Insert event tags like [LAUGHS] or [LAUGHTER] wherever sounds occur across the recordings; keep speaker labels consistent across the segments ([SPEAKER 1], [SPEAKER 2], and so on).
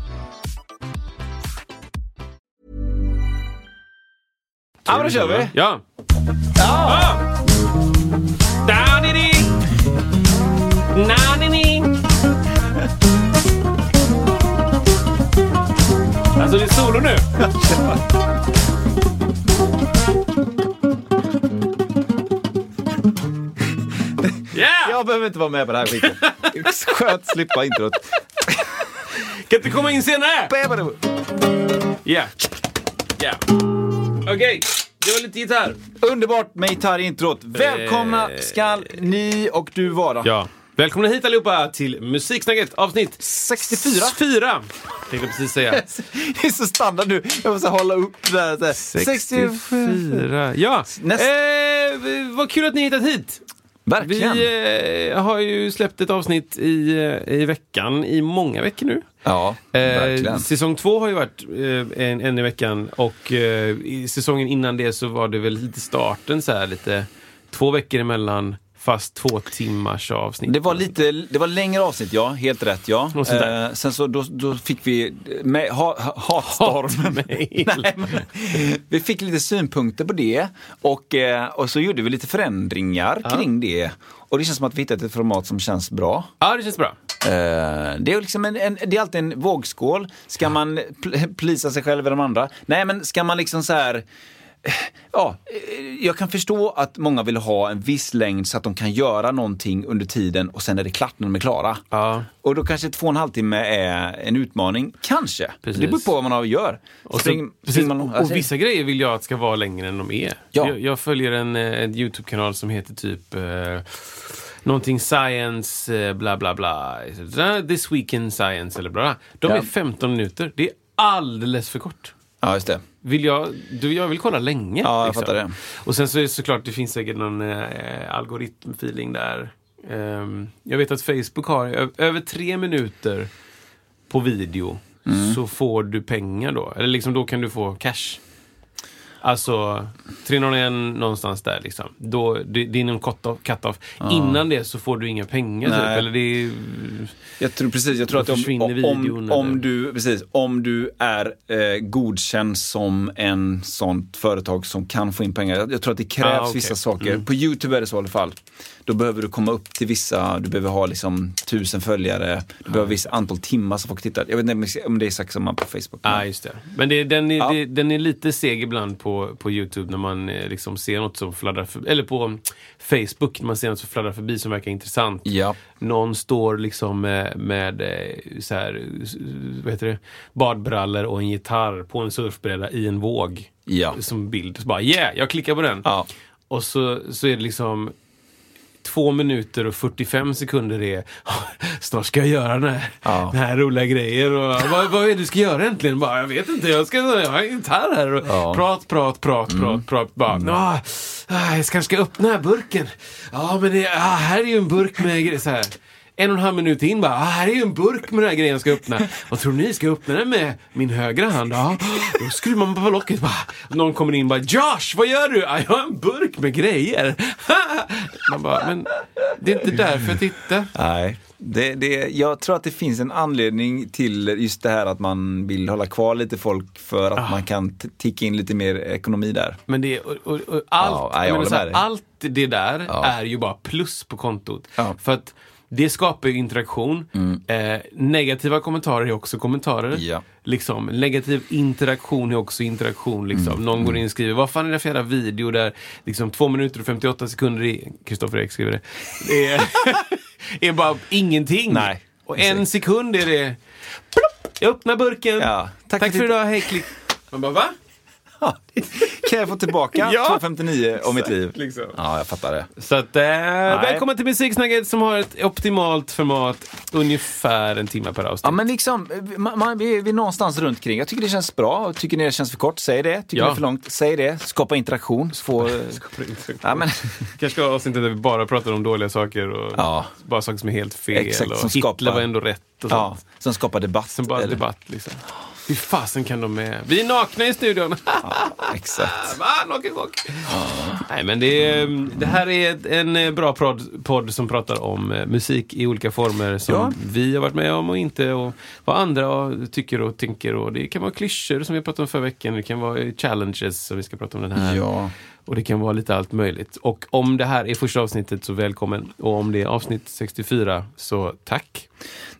[SPEAKER 1] Ja, men då kör vi.
[SPEAKER 2] Ja.
[SPEAKER 1] Ah!
[SPEAKER 2] Da-di-di. Na-di-di. Alltså det är solo nu. Yeah!
[SPEAKER 1] Jag behöver inte vara med på det här skiten. [LAUGHS] Skönt slippa introt.
[SPEAKER 2] Kan inte komma in senare? Yeah. Yeah. Okej, det var lite gitarr.
[SPEAKER 1] Underbart med gitarrintrot. Välkomna skall ni och du vara.
[SPEAKER 2] Ja. Välkomna hit allihopa till Musiksnacket avsnitt
[SPEAKER 1] 64.
[SPEAKER 2] 4. Tänkte jag precis säga.
[SPEAKER 1] [LAUGHS] Det är så standard nu. Jag måste hålla upp det här. Så här. 64.
[SPEAKER 2] Ja.
[SPEAKER 1] Näst-
[SPEAKER 2] Eh, vad kul att ni hittat hit.
[SPEAKER 1] Verkligen.
[SPEAKER 2] Vi eh, har ju släppt ett avsnitt i, eh, i veckan, i många veckor nu.
[SPEAKER 1] Ja,
[SPEAKER 2] Eh,
[SPEAKER 1] verkligen.
[SPEAKER 2] säsong två har ju varit eh, en, en i veckan och eh, i säsongen innan det så var det väl lite starten så här lite två veckor emellan fast två timmars avsnitt.
[SPEAKER 1] Det
[SPEAKER 2] [LAUGHS]
[SPEAKER 1] var lite, det var längre avsnitt ja, helt rätt ja.
[SPEAKER 2] Och sånt där.
[SPEAKER 1] Eh, sen så då, då fick vi eh, med, ha, ha, hatstormen.
[SPEAKER 2] Hatmejl.
[SPEAKER 1] [LAUGHS] Nej, men, vi fick lite synpunkter på det och, eh, och så gjorde vi lite förändringar kring det. Och det känns som att vi hittat ett format som känns bra.
[SPEAKER 2] Ja, det känns bra.
[SPEAKER 1] Eh, det, är liksom en, en, det är alltid en vågskål. Ska man pl- plisa sig själv eller de andra? Nej, men ska man liksom så här... eh, Ja, eh, jag kan förstå att många vill ha en viss längd så att de kan göra någonting under tiden och sen är det klart när de är klara.
[SPEAKER 2] Ja.
[SPEAKER 1] Och då kanske två och en halv timme är en utmaning. Kanske.
[SPEAKER 2] Precis.
[SPEAKER 1] Det beror på vad man gör.
[SPEAKER 2] Och,
[SPEAKER 1] Spring-
[SPEAKER 2] så, precis,
[SPEAKER 1] springer man-
[SPEAKER 2] och,
[SPEAKER 1] ja,
[SPEAKER 2] och
[SPEAKER 1] säg.
[SPEAKER 2] vissa grejer vill jag att ska vara längre än de är.
[SPEAKER 1] Ja.
[SPEAKER 2] Jag, jag följer en, eh, en YouTube-kanal som heter typ eh, någonting science, eh, bla bla bla. This week in science eller bla bla. De
[SPEAKER 1] Ja.
[SPEAKER 2] är 15 minuter. Det är alldeles för kort.
[SPEAKER 1] Ja, just det.
[SPEAKER 2] Vill jag, du, jag vill kolla länge. liksom.
[SPEAKER 1] Ja, jag fattar det.
[SPEAKER 2] Och sen så är det såklart, det finns säkert någon eh, algoritmfeeling där. Ehm, jag vet att Facebook har ö- över tre minuter på video
[SPEAKER 1] Mm.
[SPEAKER 2] så får du pengar då. Eller liksom då kan du få cash. Alltså 301 någonstans där liksom. Då, det, det är någon cut-off. cut-off. Innan det så får du inga pengar typ.
[SPEAKER 1] Nej.
[SPEAKER 2] Eller det är,
[SPEAKER 1] Jag tror precis, jag tror
[SPEAKER 2] Då
[SPEAKER 1] att om,
[SPEAKER 2] försvinner videon,
[SPEAKER 1] om,
[SPEAKER 2] eller?
[SPEAKER 1] om, du, precis, om du är eh, godkänd som en sånt företag som kan få in pengar. Jag, jag tror att det krävs
[SPEAKER 2] Ah, okej.
[SPEAKER 1] vissa saker. På YouTube är det så i alla fall. Då behöver du komma upp till vissa, du behöver ha liksom tusen följare, du
[SPEAKER 2] Ah.
[SPEAKER 1] behöver visst antal timmar som folk tittar. Jag vet inte om det är exakt samma på Facebook.
[SPEAKER 2] Ja,
[SPEAKER 1] men-
[SPEAKER 2] ah, just det. Men det, den, är,
[SPEAKER 1] Ja.
[SPEAKER 2] det, den är lite seg ibland på, på YouTube när man eh, liksom ser något som fladdrar förbi. Eller på mm, Facebook när man ser något som fladdrar förbi som verkar intressant.
[SPEAKER 1] Ja.
[SPEAKER 2] Någon står liksom eh, med eh, så här, s- vad heter det? badbrallor och en gitarr på en surfbräda i en våg.
[SPEAKER 1] Ja.
[SPEAKER 2] Som bild. Så bara yeah, jag klickar på den.
[SPEAKER 1] Ja.
[SPEAKER 2] Och så, så är det liksom två minuter och 45 sekunder är [LAUGHS] snart ska jag göra den här,
[SPEAKER 1] Ja.
[SPEAKER 2] den här roliga grejer. Och, vad, vad är det du ska göra egentligen? Bara, jag vet inte, jag, ska, jag har en gitarr här. Och,
[SPEAKER 1] Ja.
[SPEAKER 2] Prat, prat, prat, prat, prat. Bara, "Ah, ah, jag kanske ska öppna den här burken. Ja, men det, ah, här är ju en burk med grejer. Så här. En och en halv minut in bara, ah, här är ju en burk med den här grejen jag ska öppna. Vad tror ni, ska jag öppna den med min högra hand? Ja, då skruvar man på locket bara. Någon kommer in bara, Josh, vad gör du? Ah, jag har en burk med grejer. [LAUGHS] man bara, men det är inte därför jag tittar.
[SPEAKER 1] Nej. Det, det, jag tror att det finns en anledning till just det här att man vill hålla kvar lite folk för att man kan t- ticka in lite mer ekonomi där.
[SPEAKER 2] Men det, och, och, och allt,
[SPEAKER 1] Ja, jag
[SPEAKER 2] jag menar
[SPEAKER 1] håller
[SPEAKER 2] så här,
[SPEAKER 1] med dig.
[SPEAKER 2] allt det där
[SPEAKER 1] Ja.
[SPEAKER 2] är ju bara plus på kontot.
[SPEAKER 1] Ja. Mm.
[SPEAKER 2] För att det skapar ju interaktion. Eh, negativa kommentarer är också kommentarer.
[SPEAKER 1] Ja.
[SPEAKER 2] Liksom, negativ interaktion är också interaktion. Liksom.
[SPEAKER 1] Mm.
[SPEAKER 2] Någon går in och skriver, vad fan är det för jävla video där liksom, två minuter och 58 sekunder i... Kristoffer Ek skriver det. Det är, [LAUGHS] är bara ingenting.
[SPEAKER 1] Nej.
[SPEAKER 2] Och en sekund är det... Plopp, jag öppnar burken.
[SPEAKER 1] Ja. Tack
[SPEAKER 2] Tack,
[SPEAKER 1] för
[SPEAKER 2] för
[SPEAKER 1] titt-
[SPEAKER 2] idag, hej klick. Man bara, va?
[SPEAKER 1] [LAUGHS] kan jag få tillbaka
[SPEAKER 2] Ja.
[SPEAKER 1] 2,59 om mitt liv?
[SPEAKER 2] liksom.
[SPEAKER 1] Ja, jag fattar det.
[SPEAKER 2] Så att, eh, välkommen till Musiksnacket som har ett optimalt format ungefär en timme per
[SPEAKER 1] Ja,
[SPEAKER 2] avsnitt.
[SPEAKER 1] men liksom, man, man, vi, är, vi är någonstans runt kring. Jag tycker det känns bra. Tycker ni det känns för kort, säg det. Tycker
[SPEAKER 2] Ja.
[SPEAKER 1] ni det är för långt, säg det. Skapa interaktion. Så [LAUGHS] får, ja, men,
[SPEAKER 2] kanske ska ha avsnittet där vi bara pratar om dåliga saker och
[SPEAKER 1] Ja.
[SPEAKER 2] bara saker som är helt fel.
[SPEAKER 1] Exakt,
[SPEAKER 2] och
[SPEAKER 1] som
[SPEAKER 2] Hitler
[SPEAKER 1] skapar-
[SPEAKER 2] var ändå rätt och
[SPEAKER 1] ja,
[SPEAKER 2] sånt.
[SPEAKER 1] som skapar debatt.
[SPEAKER 2] Sen bara
[SPEAKER 1] eller-
[SPEAKER 2] debatt liksom. Hur fasen kan de med? Vi är nakna i studion!
[SPEAKER 1] Exakt.
[SPEAKER 2] Va? Nockenbock? Nej, men det, är, det här är ett- en eh, bra prod, podd som pratar om eh, musik i olika former som
[SPEAKER 1] Ja.
[SPEAKER 2] vi har varit med om och inte och vad andra tycker och tänker. Och det kan vara klyschor som vi pratade om förra veckan, det kan vara eh, challenges som vi ska prata om den här.
[SPEAKER 1] Ja.
[SPEAKER 2] Och det kan vara lite allt möjligt. Och om det här är första avsnittet så välkommen. Och om det är avsnitt 64 så tack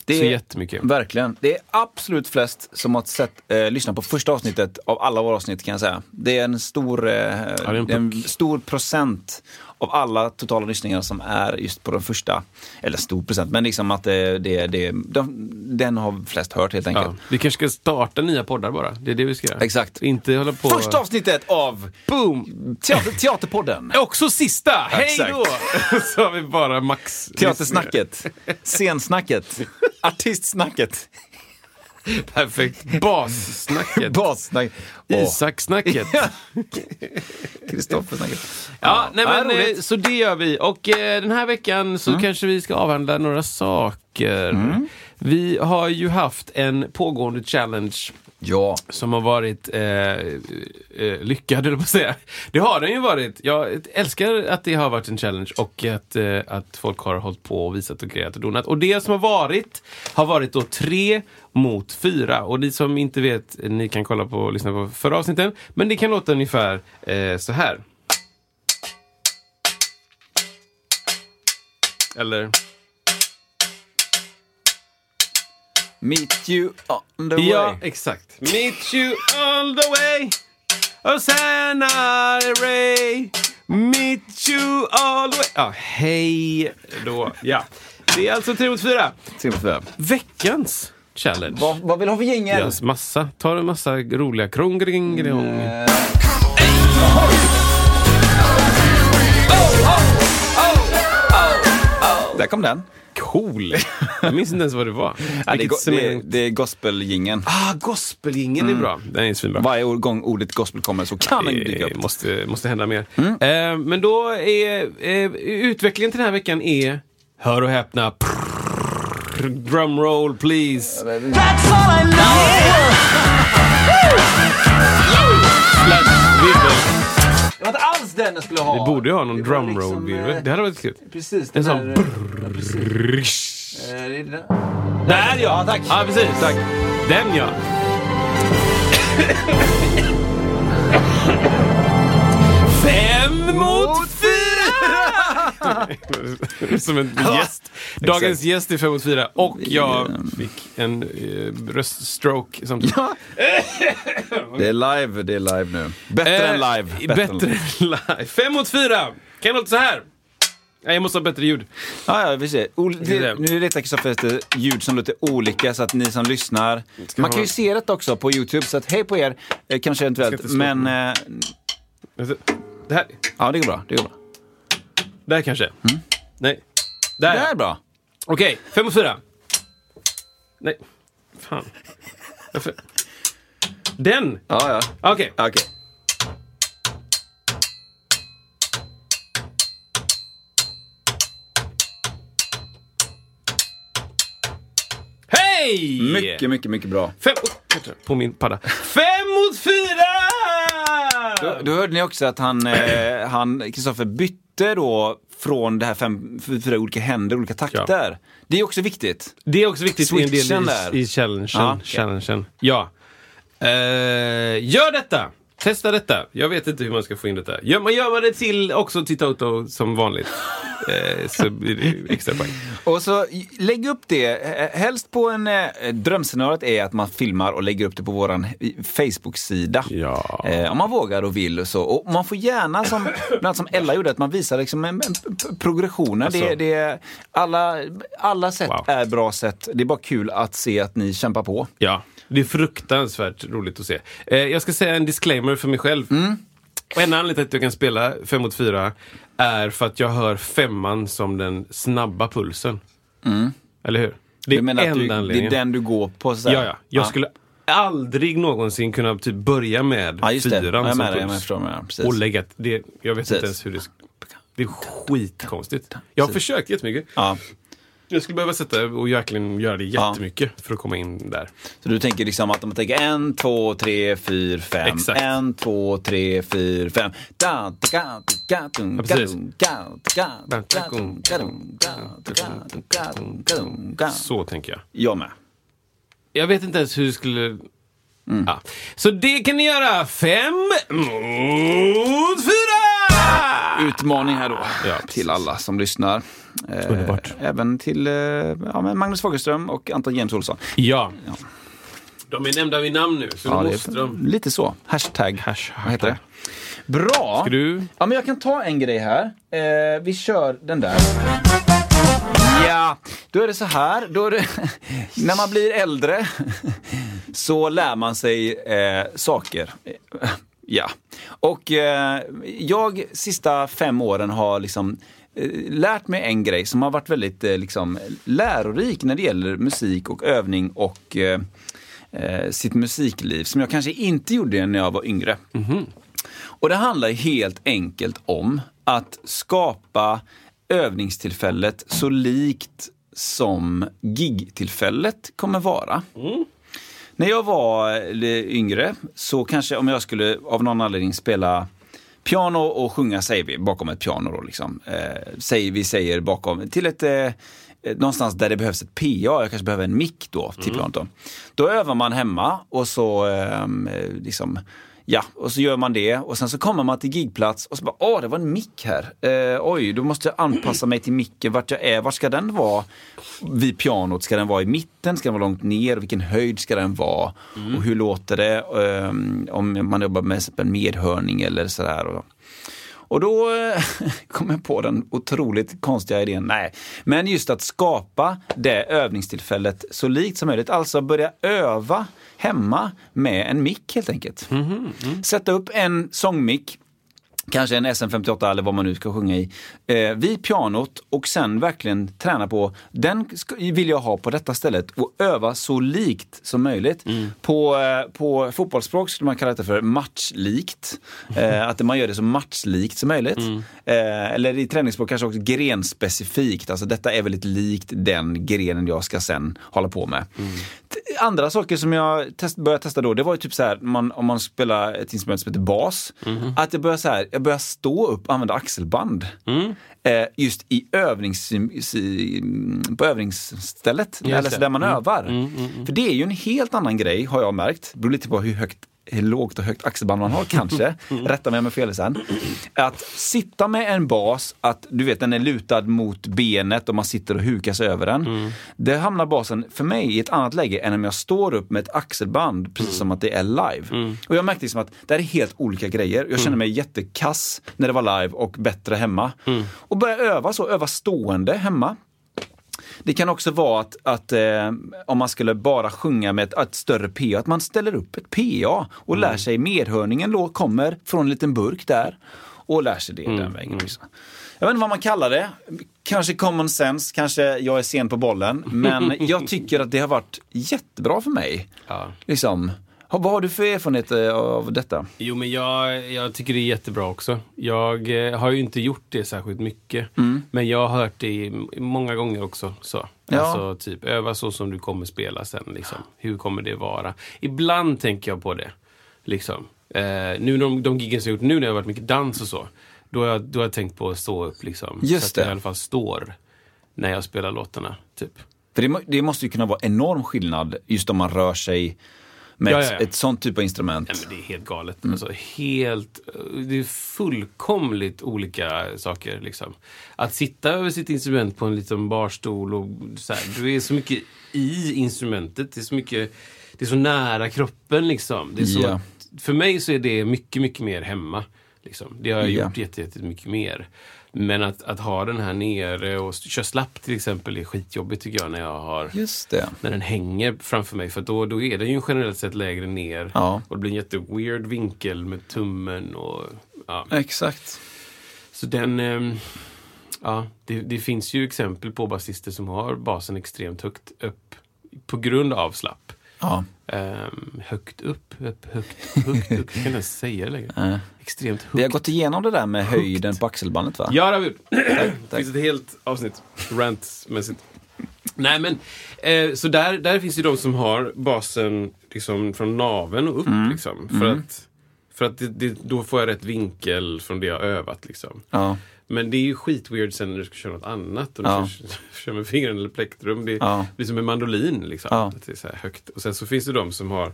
[SPEAKER 1] Det
[SPEAKER 2] så
[SPEAKER 1] är-
[SPEAKER 2] jättemycket.
[SPEAKER 1] Verkligen. Det är absolut flest som har sett, eh, lyssnat på första avsnittet av alla våra avsnitt kan jag säga. Det är en stor, eh,
[SPEAKER 2] är en
[SPEAKER 1] det är en stor procent av alla totala lyssningar som är just på den första. Eller stor procent, men liksom att det, det, det, de, den har flest hört helt enkelt.
[SPEAKER 2] Ja. Vi kanske ska starta nya poddar bara. Det är det vi ska göra.
[SPEAKER 1] Exakt.
[SPEAKER 2] Inte hålla på...
[SPEAKER 1] Första avsnittet av
[SPEAKER 2] Boom!
[SPEAKER 1] teater,
[SPEAKER 2] [LAUGHS]
[SPEAKER 1] Teaterpodden!
[SPEAKER 2] Också sista! Hej
[SPEAKER 1] Exakt.
[SPEAKER 2] då! [LAUGHS] Så har vi bara max...
[SPEAKER 1] Teatersnacket, scensnacket, artistsnacket,
[SPEAKER 2] [LAUGHS] Perfekt. [LAUGHS] Bassnacket.
[SPEAKER 1] bassnacket och
[SPEAKER 2] [LAUGHS] Isaksnacket.
[SPEAKER 1] Kristoffersnacket.
[SPEAKER 2] Ja, nej
[SPEAKER 1] Ja,
[SPEAKER 2] men, eh,
[SPEAKER 1] roligt.
[SPEAKER 2] så det gör vi. Och eh, den här veckan så kanske vi ska avhandla några saker. Vi har ju haft en pågående challenge
[SPEAKER 1] Ja.
[SPEAKER 2] som har varit eh, eh, lyckad, eller på att säga. Det har den ju varit. Jag älskar att det har varit en challenge och att, eh, att folk har hållit på och visat och grejat och donat. Och det som har varit har varit då tre mot fyra. Och ni som inte vet, ni kan kolla på och lyssna på förra avsnitten. Men det kan låta ungefär eh, så här. Eller?
[SPEAKER 1] Meet you on the
[SPEAKER 2] Ja,
[SPEAKER 1] way.
[SPEAKER 2] exakt. Meet you all the way Hosanna Ray Meet you all the way Ja, hej då. Ja. Det är alltså tre mot fyra. Veckans challenge.
[SPEAKER 1] Vad, vad vill du ha för jingel?
[SPEAKER 2] Yes, massa. Ta en massa roliga krångring,
[SPEAKER 1] Mm.
[SPEAKER 2] krång.
[SPEAKER 1] Där kom den.
[SPEAKER 2] Cool. Jag minns inte ens vad det var.
[SPEAKER 1] Ja, det, är
[SPEAKER 2] Vilket
[SPEAKER 1] go- det, Mm. är-
[SPEAKER 2] cement.
[SPEAKER 1] det är gospeljingeln.
[SPEAKER 2] Ah, gospelingen är bra. Den är svinbra.
[SPEAKER 1] Varje or- gång ordet gospel kommer så kan den dyka upp.
[SPEAKER 2] Det måste, måste hända mer. Eh, men då är eh, utvecklingen till den här veckan är, hör och häpna, prrrr, drumroll please. Slash virvel.
[SPEAKER 1] Det var inte alls den jag skulle ha.
[SPEAKER 2] Vi borde ju ha någon
[SPEAKER 1] Det var liksom,
[SPEAKER 2] drumroll-virvel.
[SPEAKER 1] eh,
[SPEAKER 2] Det hade varit kul.
[SPEAKER 1] Precis.
[SPEAKER 2] En
[SPEAKER 1] Den
[SPEAKER 2] sån...
[SPEAKER 1] här,
[SPEAKER 2] brrrr.
[SPEAKER 1] eh, det är den.
[SPEAKER 2] Där ja!
[SPEAKER 1] Ja, tack.
[SPEAKER 2] Ja, precis.
[SPEAKER 1] Tack.
[SPEAKER 2] Den ja! Fem mot fyra! Som en gäst. Dagens
[SPEAKER 1] Exakt.
[SPEAKER 2] gäst är fem mot fyra. Och jag fick en eh, röststroke samtidigt.
[SPEAKER 1] Det är live, det är live nu. Bättre än
[SPEAKER 2] Eh,
[SPEAKER 1] live. än-
[SPEAKER 2] Bättre än live. Fem mot fyra! Kan det låta så här? Nej, jag måste ha bättre ljud.
[SPEAKER 1] Ja, ja, vi ser. Ol-
[SPEAKER 2] det.
[SPEAKER 1] det, nu letar Kristoffer efter ljud som låter olika så att ni som lyssnar... Man kan ju se det också på YouTube, så att hej på er. Eh, kanske
[SPEAKER 2] Ska
[SPEAKER 1] eventuellt.
[SPEAKER 2] inte slå
[SPEAKER 1] Men...
[SPEAKER 2] på
[SPEAKER 1] Eh,
[SPEAKER 2] Det här,
[SPEAKER 1] ja, det går bra. Det går bra.
[SPEAKER 2] där kanske? Nej. Där,
[SPEAKER 1] Det
[SPEAKER 2] ja.
[SPEAKER 1] här är bra.
[SPEAKER 2] Okej, fem mot fyra. Nej, fan. Varför? Den!
[SPEAKER 1] Ja, ja.
[SPEAKER 2] Okej.
[SPEAKER 1] Okej.
[SPEAKER 2] Hej!
[SPEAKER 1] Mycket, mycket, mycket bra.
[SPEAKER 2] Fem... Oh, på min padda. Fem mot fyra!
[SPEAKER 1] Då hörde ni också att han, eh, han Kristoffer bytte då från det här fem, fyra olika händer, olika takter. Det är också viktigt.
[SPEAKER 2] Det är också viktigt i en
[SPEAKER 1] Switchen
[SPEAKER 2] del
[SPEAKER 1] där.
[SPEAKER 2] i, i challengen.
[SPEAKER 1] Ja, okej.
[SPEAKER 2] challengen. Ja. Eh, gör detta! Testa detta. Jag vet inte hur man ska få in detta. Gör man, gör man det till också till Toto som vanligt eh, så blir det extra poäng.
[SPEAKER 1] Och så i- lägg upp det, eh, helst på en... Eh, drömscenariot är att man filmar och lägger upp det på våran i- Facebook-sida.
[SPEAKER 2] Ja.
[SPEAKER 1] Eh, om man vågar och vill och så. Och man får gärna, som, bland annat som Ella gjorde, att man visar liksom en, en p- p- progressionen.
[SPEAKER 2] Alltså.
[SPEAKER 1] Det, det, alla, alla sätt
[SPEAKER 2] Wow.
[SPEAKER 1] är bra sätt. Det är bara kul att se att ni kämpar på. Mm.
[SPEAKER 2] Ja, det är fruktansvärt roligt att se. Eh, jag ska säga en disclaimer för mig själv. Och en anledning till att jag kan spela fem mot fyra är för att jag hör femman som den snabba pulsen. Eller hur? Det är
[SPEAKER 1] Mm. Du menar att du,
[SPEAKER 2] enda
[SPEAKER 1] det är
[SPEAKER 2] anledningen.
[SPEAKER 1] den du går på? Så att
[SPEAKER 2] Ja,
[SPEAKER 1] säga.
[SPEAKER 2] ja. Jag skulle aldrig någonsin kunna typ börja med
[SPEAKER 1] Ja, just det. Ja,
[SPEAKER 2] fyran
[SPEAKER 1] jag
[SPEAKER 2] som
[SPEAKER 1] menar, jag
[SPEAKER 2] puls.
[SPEAKER 1] menar, förstår vad jag menar. Precis.
[SPEAKER 2] och lägga... Det, jag vet
[SPEAKER 1] Precis.
[SPEAKER 2] inte ens hur det... sk- Det är skitkonstigt. Jag har försökt jättemycket.
[SPEAKER 1] Ja.
[SPEAKER 2] Jag skulle behöva sätta och verkligen göra det
[SPEAKER 1] Ja.
[SPEAKER 2] jättemycket för att komma in där.
[SPEAKER 1] Så du tänker liksom att om man tänker en, två, tre, fyra, fem.
[SPEAKER 2] Exakt.
[SPEAKER 1] En, två, tre, fyra, fem. Da, da, da, da, dum,
[SPEAKER 2] Ja, precis.
[SPEAKER 1] da, dum, da, da, da, dum, da, dum, da, da, da, dum, da, dum, da.
[SPEAKER 2] Så tänker jag.
[SPEAKER 1] Jag med.
[SPEAKER 2] Jag vet inte ens hur du skulle...
[SPEAKER 1] Mm.
[SPEAKER 2] Ja. Så det kan ni göra. Fem mot fyra!
[SPEAKER 1] Utmaning här då
[SPEAKER 2] Ja, precis.
[SPEAKER 1] till alla som lyssnar. Eh,
[SPEAKER 2] Underbart.
[SPEAKER 1] Även till eh, ja, men Magnus Fagerström och Anton James Olsson.
[SPEAKER 2] Ja. De är nämnda vid namn nu, så
[SPEAKER 1] Ja,
[SPEAKER 2] nu
[SPEAKER 1] det
[SPEAKER 2] måste
[SPEAKER 1] är
[SPEAKER 2] de...
[SPEAKER 1] lite så. Hashtag.
[SPEAKER 2] Hashtag.
[SPEAKER 1] Vad heter det? Bra!
[SPEAKER 2] Ska du-
[SPEAKER 1] Ja, men jag kan ta en grej här. Eh, vi kör den där. Ja, då är det så här. Då är det [LAUGHS] när man blir äldre [LAUGHS] så lär man sig eh, saker. Ja. Och eh, jag sista fem åren har liksom eh, lärt mig en grej som har varit väldigt eh, liksom, lärorik när det gäller musik och övning och eh, eh, sitt musikliv som jag kanske inte gjorde när jag var yngre.
[SPEAKER 2] Mhm.
[SPEAKER 1] Och det handlar helt enkelt om att skapa övningstillfället så likt som gigtillfället kommer vara. När jag var eh, yngre så kanske om jag skulle av någon anledning spela piano och sjunga säger vi bakom ett piano då liksom. Eh, säger, vi säger bakom till ett eh, eh, Någonstans där det behövs ett PA, jag kanske behöver en mick då till pianot. Då. då övar man hemma och så ehm, eh, liksom, ja, och så gör man det och sen så kommer man till gigplats och så bara, åh det var en mick här. Eh, oj, då måste jag anpassa mig till micken, vart jag är, var ska den vara? vid pianot? Ska den vara i mitten? Ska den vara långt ner? Vilken höjd ska den vara? Och hur låter det ehm, om man jobbar med exempel medhörning eller sådär? Och, och då eh, [LAUGHS] kom jag på den otroligt konstiga idén. Nej, men just att skapa det övningstillfället så likt som möjligt. Alltså börja öva hemma med en mick helt enkelt. Sätta upp en sångmick kanske en SM58 eller vad man nu ska sjunga i, eh, vid pianot och sen verkligen träna på, den ska- vill jag ha på detta stället och öva så likt som möjligt. På, eh, på fotbollsspråk skulle man kalla det för matchlikt. Eh, att man gör det så matchlikt som möjligt. Eh, eller i träningsspråk kanske också grenspecifikt, alltså detta är väldigt likt den grenen jag ska sen hålla på med. T- Andra saker som jag test, började testa då, det var ju typ så här, man, om man spelar ett instrument som heter bas, att jag börjar så här, jag börjar stå upp och använda axelband. Eh, just i övnings, i, på övningsstället, eller
[SPEAKER 2] det.
[SPEAKER 1] där man övar. För det är ju en helt annan grej har jag märkt, det beror lite på hur högt hur lågt och högt axelband man har kanske, rätta mig om jag har fel sen. Att sitta med en bas, att du vet den är lutad mot benet och man sitter och hukar sig över den. Det hamnar basen för mig i ett annat läge än om jag står upp med ett axelband precis som att det är live. Och jag märkte liksom att det här är helt olika grejer. Jag kände mig jättekass när det var live och bättre hemma. Och börja öva så, öva stående hemma. Det kan också vara att, att eh, om man skulle bara sjunga med ett, ett större PA, att man ställer upp ett PA och
[SPEAKER 2] Mm.
[SPEAKER 1] lär sig medhörningen lå- kommer från en liten burk där och lär sig det
[SPEAKER 2] Mm,
[SPEAKER 1] den vägen. Också. Jag vet inte vad man kallar det. Kanske common sense, kanske jag är sen på bollen.
[SPEAKER 2] [LAUGHS]
[SPEAKER 1] Men jag tycker att det har varit jättebra för mig.
[SPEAKER 2] Ja.
[SPEAKER 1] Liksom. Ha- Vad har du för erfarenhet eh, av detta?
[SPEAKER 2] Jo, men jag, jag tycker det är jättebra också. Jag eh, har ju inte gjort det särskilt mycket. Men jag har hört det i- många gånger också. Så.
[SPEAKER 1] Mm. Ja.
[SPEAKER 2] Alltså, typ, öva så som du kommer spela sen. Liksom. Hur kommer det vara? Ibland tänker jag på det. Liksom. Eh, nu de, de giggen som jag gjort nu när jag har varit mycket dans och så. Då har jag, då har jag tänkt på att stå upp. Liksom.
[SPEAKER 1] Just
[SPEAKER 2] så att
[SPEAKER 1] det.
[SPEAKER 2] jag i alla fall står när jag spelar låtarna. Typ.
[SPEAKER 1] För det, må- det måste ju kunna vara enorm skillnad just om man rör sig med
[SPEAKER 2] Ja,
[SPEAKER 1] ett,
[SPEAKER 2] ja, ja.
[SPEAKER 1] ett sånt typ av instrument.
[SPEAKER 2] Nej, men det är helt galet. Alltså, helt, det är fullkomligt olika saker. Liksom. Att sitta över sitt instrument på en liten barstol och så här, du är så mycket i instrumentet. Det är så, mycket, det är så nära kroppen liksom. Det är så,
[SPEAKER 1] Ja.
[SPEAKER 2] För mig så är det mycket, mycket mer hemma. Liksom. Det har jag
[SPEAKER 1] Ja.
[SPEAKER 2] gjort jätte, jätte mycket mer. Men att, att ha den här nere och st- köra slapp till exempel är skitjobbigt tycker jag när jag har
[SPEAKER 1] Just det.
[SPEAKER 2] när den hänger framför mig. För då, då är den ju generellt sett lägre ner.
[SPEAKER 1] Ja.
[SPEAKER 2] Och det blir en jätteweird vinkel med tummen och Ja.
[SPEAKER 1] Exakt.
[SPEAKER 2] Så den... ehm, Ja, det, det finns ju exempel på basister som har basen extremt högt upp på grund av slapp.
[SPEAKER 1] Ja.
[SPEAKER 2] Ehm, högt upp, upp, högt, högt upp. Jag kan inte ens säga det längre. Extremt högt.
[SPEAKER 1] Vi har gått igenom det där med höjden på axelbandet va?
[SPEAKER 2] Ja, det har vi gjort. Det finns ett helt avsnitt, rantmässigt. Nej men, eh, så där, där finns ju de som har basen liksom från naven och upp. Liksom, för att, för att det, det, då får jag rätt vinkel från det jag har övat. Liksom.
[SPEAKER 1] Ja.
[SPEAKER 2] Men det är ju skitweird sen när du ska köra något annat. Och du
[SPEAKER 1] Ja.
[SPEAKER 2] [LAUGHS] ska köra med fingrarna eller plektrum. Det
[SPEAKER 1] Ja.
[SPEAKER 2] blir som en mandolin. Liksom.
[SPEAKER 1] Ja.
[SPEAKER 2] Att det är så här högt. Och sen så finns det de som har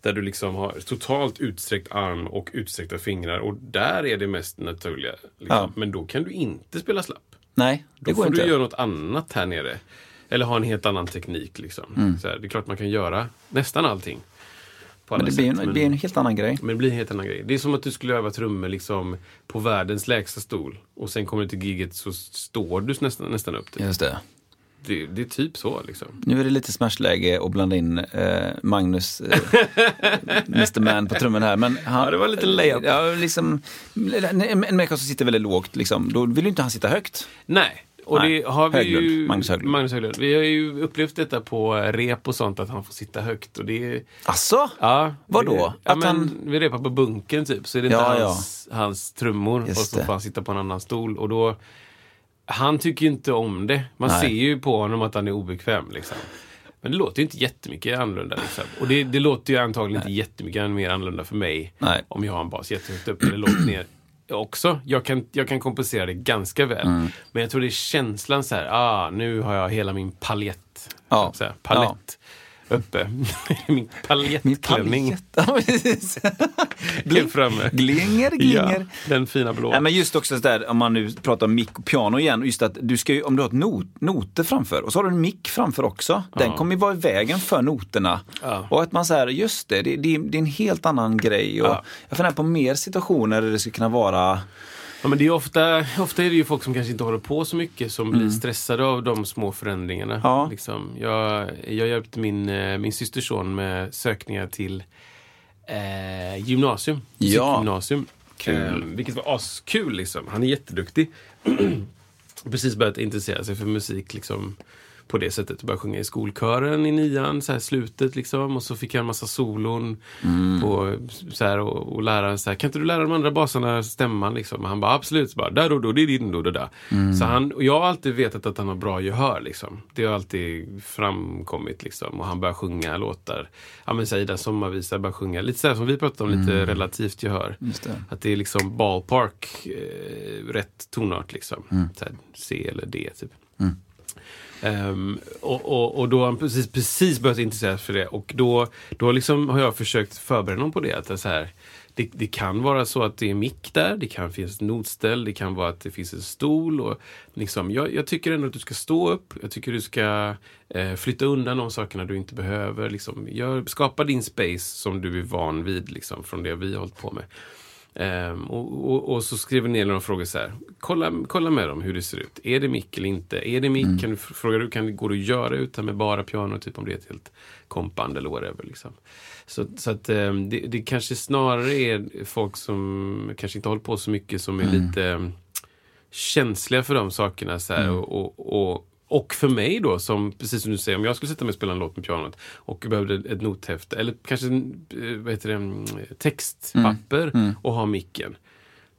[SPEAKER 2] där du liksom har totalt utsträckt arm och utsträckta fingrar. Och där är det mest naturliga. Liksom.
[SPEAKER 1] Ja.
[SPEAKER 2] Men då kan du inte spela slapp.
[SPEAKER 1] Nej,
[SPEAKER 2] Då
[SPEAKER 1] det
[SPEAKER 2] får
[SPEAKER 1] går inte.
[SPEAKER 2] du göra något annat här nere. Eller ha en helt annan teknik. Liksom.
[SPEAKER 1] Mm.
[SPEAKER 2] Så här, det är klart man kan göra nästan allting. På
[SPEAKER 1] Men
[SPEAKER 2] alla
[SPEAKER 1] det blir, ju
[SPEAKER 2] sätt,
[SPEAKER 1] en, det blir en helt annan grej.
[SPEAKER 2] men det blir en helt annan grej. Det är som att du skulle öva trummor liksom på världens lägsta stol och sen kommer du till giget så står du nästan, nästan upp. Det.
[SPEAKER 1] Just det.
[SPEAKER 2] Det, det är typ så liksom.
[SPEAKER 1] Nu är det lite smashläge att blanda in eh, Magnus,
[SPEAKER 2] [LAUGHS]
[SPEAKER 1] eh, Mr Man på trummen här. Men han,
[SPEAKER 2] Ja, det var lite layup.
[SPEAKER 1] Ja, liksom, en, en människa som sitter väldigt lågt, liksom, då vill ju inte han sitta högt.
[SPEAKER 2] Nej, och
[SPEAKER 1] Nej,
[SPEAKER 2] det har vi ju...
[SPEAKER 1] Höglund. Magnus Höglund.
[SPEAKER 2] Vi har ju upplevt detta på rep och sånt att han får sitta högt och det är...
[SPEAKER 1] Alltså?
[SPEAKER 2] Ja,
[SPEAKER 1] Vadå?
[SPEAKER 2] Det, ja,
[SPEAKER 1] Att
[SPEAKER 2] men,
[SPEAKER 1] han-
[SPEAKER 2] Vi repar på bunken typ, så är det inte
[SPEAKER 1] Ja, ja.
[SPEAKER 2] hans, hans trummor.
[SPEAKER 1] Just
[SPEAKER 2] och så
[SPEAKER 1] det.
[SPEAKER 2] får han sitta på en annan stol. Och då, han tycker ju inte om det. Man
[SPEAKER 1] Nej.
[SPEAKER 2] ser ju på honom att han är obekväm. Liksom. Men det låter ju inte jättemycket annorlunda. Liksom. Och det, det låter ju antagligen inte jättemycket mer annorlunda för mig
[SPEAKER 1] Nej.
[SPEAKER 2] om jag har en bas jättehögt upp eller lågt ner. Också. Jag kan, jag kan kompensera det ganska väl.
[SPEAKER 1] Mm.
[SPEAKER 2] Men jag tror det är känslan så här, ah, nu har jag hela min paljett.
[SPEAKER 1] Ja.
[SPEAKER 2] Så här, palett uppe. [LAUGHS] min paljettklänning
[SPEAKER 1] [LAUGHS] Ja, precis.
[SPEAKER 2] blev framme.
[SPEAKER 1] glinger, glinger.
[SPEAKER 2] Ja, den fina blå.
[SPEAKER 1] Nej, men just också så där, om man nu pratar om mick och piano igen, och just att du ska ju, om du har ett not, noter framför och så har du en mick framför också, den kommer ju vara i vägen för noterna.
[SPEAKER 2] Ja.
[SPEAKER 1] Och att man säger, just det, det, det, det är en helt annan grej. Och
[SPEAKER 2] Ja.
[SPEAKER 1] Jag funderar på mer situationer där det skulle kunna vara,
[SPEAKER 2] Ja, men det är ofta, ofta är det ju folk som kanske inte håller på så mycket som blir stressade av de små förändringarna.
[SPEAKER 1] Mm. Ja.
[SPEAKER 2] Liksom. Jag, jag hjälpte min, eh, min systers son med sökningar till eh, gymnasium.
[SPEAKER 1] Ja.
[SPEAKER 2] Musikgymnasium. Eh, vilket var askul. Liksom. Han är jätteduktig. [CLEARS THROAT] Precis börjat intressera sig för musik liksom, på det sättet. Började sjunga i skolkören i nian, så här slutet liksom. Och så fick jag en massa solon. På, så här, och, och läraren så här, kan inte du lära de andra basarna stämman? Liksom? Och han bara, absolut. Så bara, där och då, det är din och det där. Så han, och jag har alltid vetat att han har bra gehör. Liksom. Det har alltid framkommit. Liksom. Och han börjar sjunga låtar. Ja men säg den sommarvisa, börjar sjunga. Lite så här som vi pratade om, lite relativt gehör.
[SPEAKER 1] Mm. Just det.
[SPEAKER 2] Att det är liksom ballpark, eh, rätt tonart liksom.
[SPEAKER 1] Mm.
[SPEAKER 2] Så här, C eller D typ. Ehm, och, och, och då har han precis, precis börjat intressera sig för det. Och då, då liksom har jag försökt förbereda honom på det. Att det, är så här, det, det kan vara så att det är mick där, det kan finnas ett notställ, det kan vara att det finns en stol. Och liksom, jag, jag tycker ändå att du ska stå upp, jag tycker du ska eh, flytta undan de sakerna du inte behöver. Liksom, gör, skapa din space som du är van vid liksom, från det vi har hållit på med. Ehm, och, och, och så skriver ner några frågor så här. Kolla, kolla med dem hur det ser ut. Är det mick eller inte? Är det mick? Kan du, frågar du, kan, går det att göra utan med bara piano? Typ om det är ett helt kompband eller whatever. Liksom. Så, så att ehm, det, det kanske snarare är folk som kanske inte håller på så mycket som är lite ehm, känsliga för de sakerna. Så
[SPEAKER 1] Mm.
[SPEAKER 2] här, och, och, och, och för mig då, som precis som du säger, om jag skulle sätta mig och spela en låt med pianot och behövde ett nothäfte eller kanske en, eh, vad heter det, mm, textpapper
[SPEAKER 1] Mm.
[SPEAKER 2] och ha micken.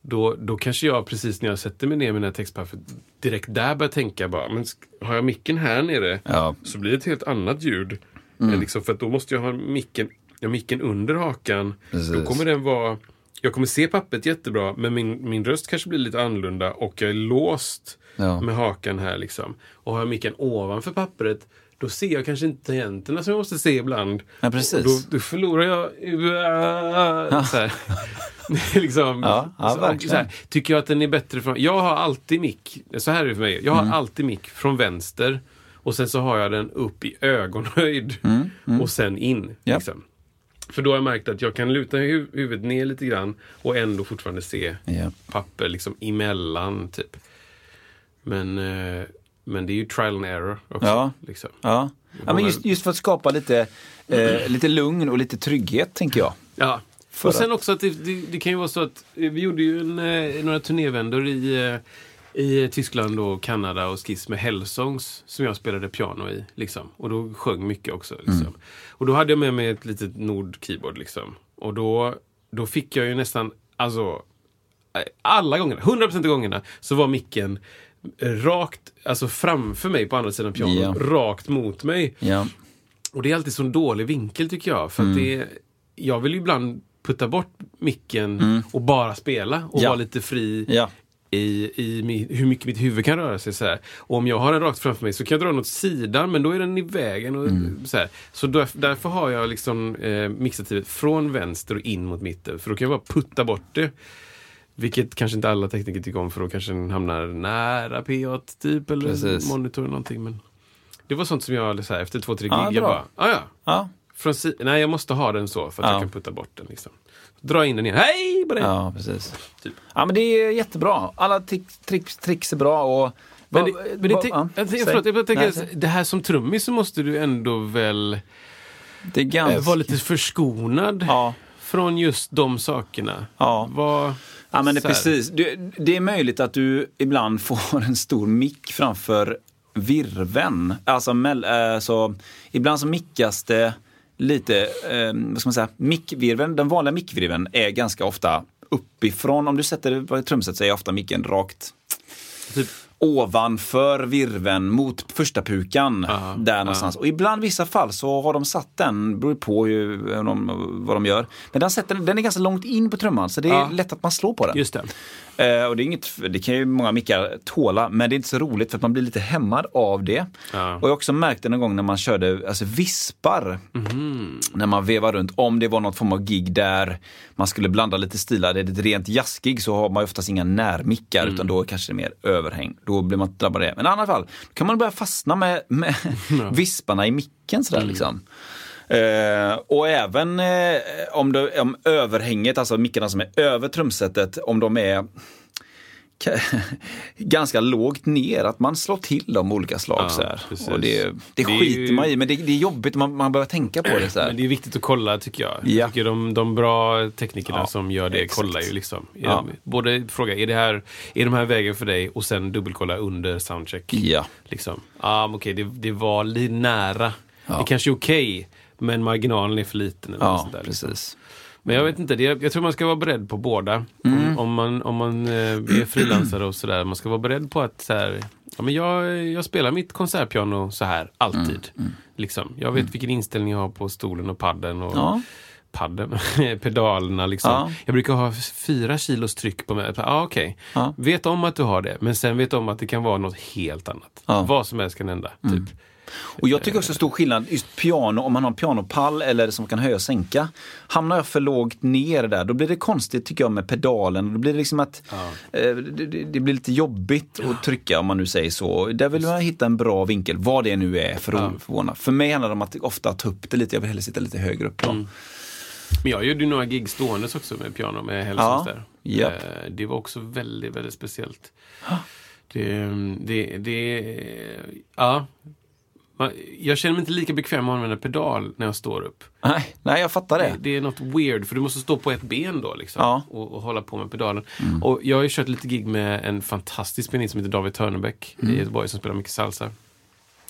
[SPEAKER 2] Då, då kanske jag precis när jag sätter mig ner med den här textpappret direkt där börjar tänka bara, men sk- har jag micken här nere
[SPEAKER 1] Ja. Mm.
[SPEAKER 2] så blir det ett helt annat ljud. Eh, Liksom, för att då måste jag ha micken, ja, micken under hakan. Då
[SPEAKER 1] Precis.
[SPEAKER 2] kommer den vara... Jag kommer se pappret jättebra, men min, min röst kanske blir lite annorlunda och jag är låst
[SPEAKER 1] Ja.
[SPEAKER 2] med hakan här. Liksom. Och har jag micken ovanför pappret, då ser jag kanske inte tangenterna som jag måste se ibland.
[SPEAKER 1] Ja, precis.
[SPEAKER 2] Och Då, då förlorar jag... Så här. [LAUGHS] liksom.
[SPEAKER 1] Ja, ja,
[SPEAKER 2] Så- och
[SPEAKER 1] verkligen.
[SPEAKER 2] så här, Tycker jag att den är bättre från... Jag har alltid mick, så här är det för mig. Jag har
[SPEAKER 1] Mm.
[SPEAKER 2] alltid mick från vänster och sen så har jag den upp i ögonhöjd och sen in.
[SPEAKER 1] Mm, Ja.
[SPEAKER 2] Liksom. För då har jag märkt att jag kan luta hu- huvudet ner lite grann och ändå fortfarande se
[SPEAKER 1] Ja.
[SPEAKER 2] papper liksom emellan. Typ. Men, eh, men det är ju trial and error också.
[SPEAKER 1] Ja.
[SPEAKER 2] Liksom.
[SPEAKER 1] ja. Ja, men just, just för att skapa lite, eh, lite lugn och lite trygghet tänker jag.
[SPEAKER 2] Ja,
[SPEAKER 1] För
[SPEAKER 2] Och sen
[SPEAKER 1] att,
[SPEAKER 2] också att det, det, det kan ju vara så att eh, vi gjorde ju en, eh, några turnévändor i, eh, i Tyskland och Kanada och Skiss med Hellsongs som jag spelade piano i. Liksom. Och då sjöng mycket också. Liksom.
[SPEAKER 1] Mm.
[SPEAKER 2] Och då hade jag med mig ett litet Nord-keyboard. Liksom. Och då, då fick jag ju nästan, alltså alla gångerna, 100% av gångerna, så var micken rakt, alltså framför mig på andra sidan pianot,
[SPEAKER 1] Ja.
[SPEAKER 2] rakt mot mig.
[SPEAKER 1] ja.
[SPEAKER 2] Och det är alltid sån dålig vinkel tycker jag. För
[SPEAKER 1] Mm.
[SPEAKER 2] att det, jag vill ju ibland putta bort micken och bara spela och
[SPEAKER 1] Mm. Ja.
[SPEAKER 2] vara lite fri
[SPEAKER 1] Ja.
[SPEAKER 2] i, i mi, hur mycket mitt huvud kan röra sig. Så här. Och om jag har den rakt framför mig så kan jag dra den åt sidan men då är den i vägen. Och,
[SPEAKER 1] Mm.
[SPEAKER 2] så här. så därf- därför har jag liksom eh, mixativet från vänster och in mot mitten. För då kan jag bara putta bort det. Vilket kanske inte alla tekniker tycker om för då kanske den hamnar nära PA typ eller
[SPEAKER 1] Precis.
[SPEAKER 2] monitor eller någonting. Men det var sånt som jag så här, efter två, tre gig,
[SPEAKER 1] Ja,
[SPEAKER 2] jag
[SPEAKER 1] bra.
[SPEAKER 2] bara, "Ah, ja.
[SPEAKER 1] Ja.
[SPEAKER 2] Från si- Nej, jag måste ha den så för att
[SPEAKER 1] Ja.
[SPEAKER 2] jag kan putta bort den. Liksom. Dra in den igen. Hej på dig!
[SPEAKER 1] ja, precis.
[SPEAKER 2] Typ.
[SPEAKER 1] Ja, men det är jättebra. Alla tics, tricks, tricks är bra. Och,
[SPEAKER 2] Men, det,
[SPEAKER 1] Va-
[SPEAKER 2] men det,
[SPEAKER 1] va-
[SPEAKER 2] tänk-
[SPEAKER 1] ja,
[SPEAKER 2] jag,
[SPEAKER 1] säg.
[SPEAKER 2] tänker- förlåt, jag bara tänker,
[SPEAKER 1] Nej,
[SPEAKER 2] att
[SPEAKER 1] säg.
[SPEAKER 2] det här som trummis så måste du ändå väl
[SPEAKER 1] det är
[SPEAKER 2] eh,
[SPEAKER 1] ganska...
[SPEAKER 2] vara lite förskonad
[SPEAKER 1] Ja.
[SPEAKER 2] från just de sakerna.
[SPEAKER 1] Ja.
[SPEAKER 2] Vad-
[SPEAKER 1] Ja, men det,
[SPEAKER 2] så här.
[SPEAKER 1] precis. Det, det är möjligt att du ibland [LAUGHS] får en stor mick framför virven. Alltså, mell- eh, så, ibland så mickas det lite, eh, vad ska man säga, mickvirven, den vanliga mickvirven är ganska ofta uppifrån. Om du sätter det på ett trumset så är ofta micken rakt
[SPEAKER 2] Typ,
[SPEAKER 1] ovanför virven mot första pukan.
[SPEAKER 2] Ja,
[SPEAKER 1] där någonstans. Och ibland vissa fall så har de satt den, beror på ju hur de, vad de gör. Men den, sätter, den är ganska långt in på trumman så det är
[SPEAKER 2] Ja.
[SPEAKER 1] lätt att man slår på den.
[SPEAKER 2] just det.
[SPEAKER 1] Eh, och det, är inget, det kan ju många mickar tåla, men det är inte så roligt för att man blir lite hämmad av det.
[SPEAKER 2] Ja.
[SPEAKER 1] Och jag har också märkt det någon gång när man körde alltså vispar. När man vevar runt. Om det var något form av gig där man skulle blanda lite stilar. Det är ett rent jazzgig så har man ju oftast inga närmickar utan då kanske det är mer överhäng. Då blir man drabbad av det. Men i annat fall då kan man börja fastna med, med visparna i micken sådär liksom. Eh, och även eh, om, det, om överhänget, alltså mickarna som är över trumsetet, om de är [LAUGHS] ka- ganska lågt ner, att man slår till dem olika slag.
[SPEAKER 2] Ja,
[SPEAKER 1] så här.
[SPEAKER 2] precis.
[SPEAKER 1] Och det, det,
[SPEAKER 2] Det är
[SPEAKER 1] skiter
[SPEAKER 2] ju-
[SPEAKER 1] man i, men det, det är jobbigt, man, man behöver tänka på det. Så
[SPEAKER 2] Men
[SPEAKER 1] här.
[SPEAKER 2] det är viktigt att kolla tycker jag.
[SPEAKER 1] Ja.
[SPEAKER 2] Jag tycker de, de bra teknikerna
[SPEAKER 1] Ja,
[SPEAKER 2] som gör det
[SPEAKER 1] exakt.
[SPEAKER 2] kollar ju liksom. Är
[SPEAKER 1] Ja.
[SPEAKER 2] de, både fråga, är, det här, är de här vägen för dig? Och sen dubbelkolla under soundcheck.
[SPEAKER 1] Ja.
[SPEAKER 2] Liksom. Ah, men okej, det, det var lite nära. Det kanske är okej, men marginalen är för liten. Eller något
[SPEAKER 1] Ja,
[SPEAKER 2] sånt där, liksom.
[SPEAKER 1] precis.
[SPEAKER 2] Men jag vet inte, det, jag tror man ska vara beredd på båda.
[SPEAKER 1] Mm.
[SPEAKER 2] Om, om man, om man eh, är frilansare och sådär. Man ska vara beredd på att så här, ja, men jag, jag spelar mitt konsertpiano så här, alltid.
[SPEAKER 1] Mm,
[SPEAKER 2] Liksom. Jag vet vilken inställning jag har på stolen och padden. Och,
[SPEAKER 1] Ja.
[SPEAKER 2] Padden, [LAUGHS] pedalerna liksom.
[SPEAKER 1] Ja.
[SPEAKER 2] Jag brukar ha fyra kilos tryck på mig. Ah, okej.
[SPEAKER 1] Ja.
[SPEAKER 2] Vet om att du har det, men sen vet om att det kan vara något helt annat.
[SPEAKER 1] Ja. Mm.
[SPEAKER 2] Vad som helst kan hända. Typ.
[SPEAKER 1] Och jag tycker också stor skillnad, just piano, om man har en pianopall eller som kan höja och sänka. Hamnar jag för lågt ner där, då blir det konstigt tycker jag med pedalen. Då blir det liksom att eh, det, det- det blir lite jobbigt att trycka om man nu säger så. Där vill man hitta en bra vinkel, vad det nu är för att förvåna. För mig handlar det om att ofta ta upp det lite, jag vill hellre sitta lite högre upp. Då.
[SPEAKER 2] Men jag gjorde ju några gig ståendes också med piano med Hellsons
[SPEAKER 1] Ja,
[SPEAKER 2] där.
[SPEAKER 1] japp.
[SPEAKER 2] Eh, Det var också väldigt, väldigt speciellt. Det, det, det, ja. Man- Jag känner mig inte lika bekväm med att använda pedal när jag står upp.
[SPEAKER 1] Nej, nej, jag fattar det.
[SPEAKER 2] Det, det är något weird, för du måste stå på ett ben då liksom,
[SPEAKER 1] Ja. Mm.
[SPEAKER 2] och, och hålla på med pedalen. Och jag har ju kört lite gig med en fantastisk pianist som heter David Törnebäck
[SPEAKER 1] Mm.
[SPEAKER 2] i Göteborg som spelar mycket salsa.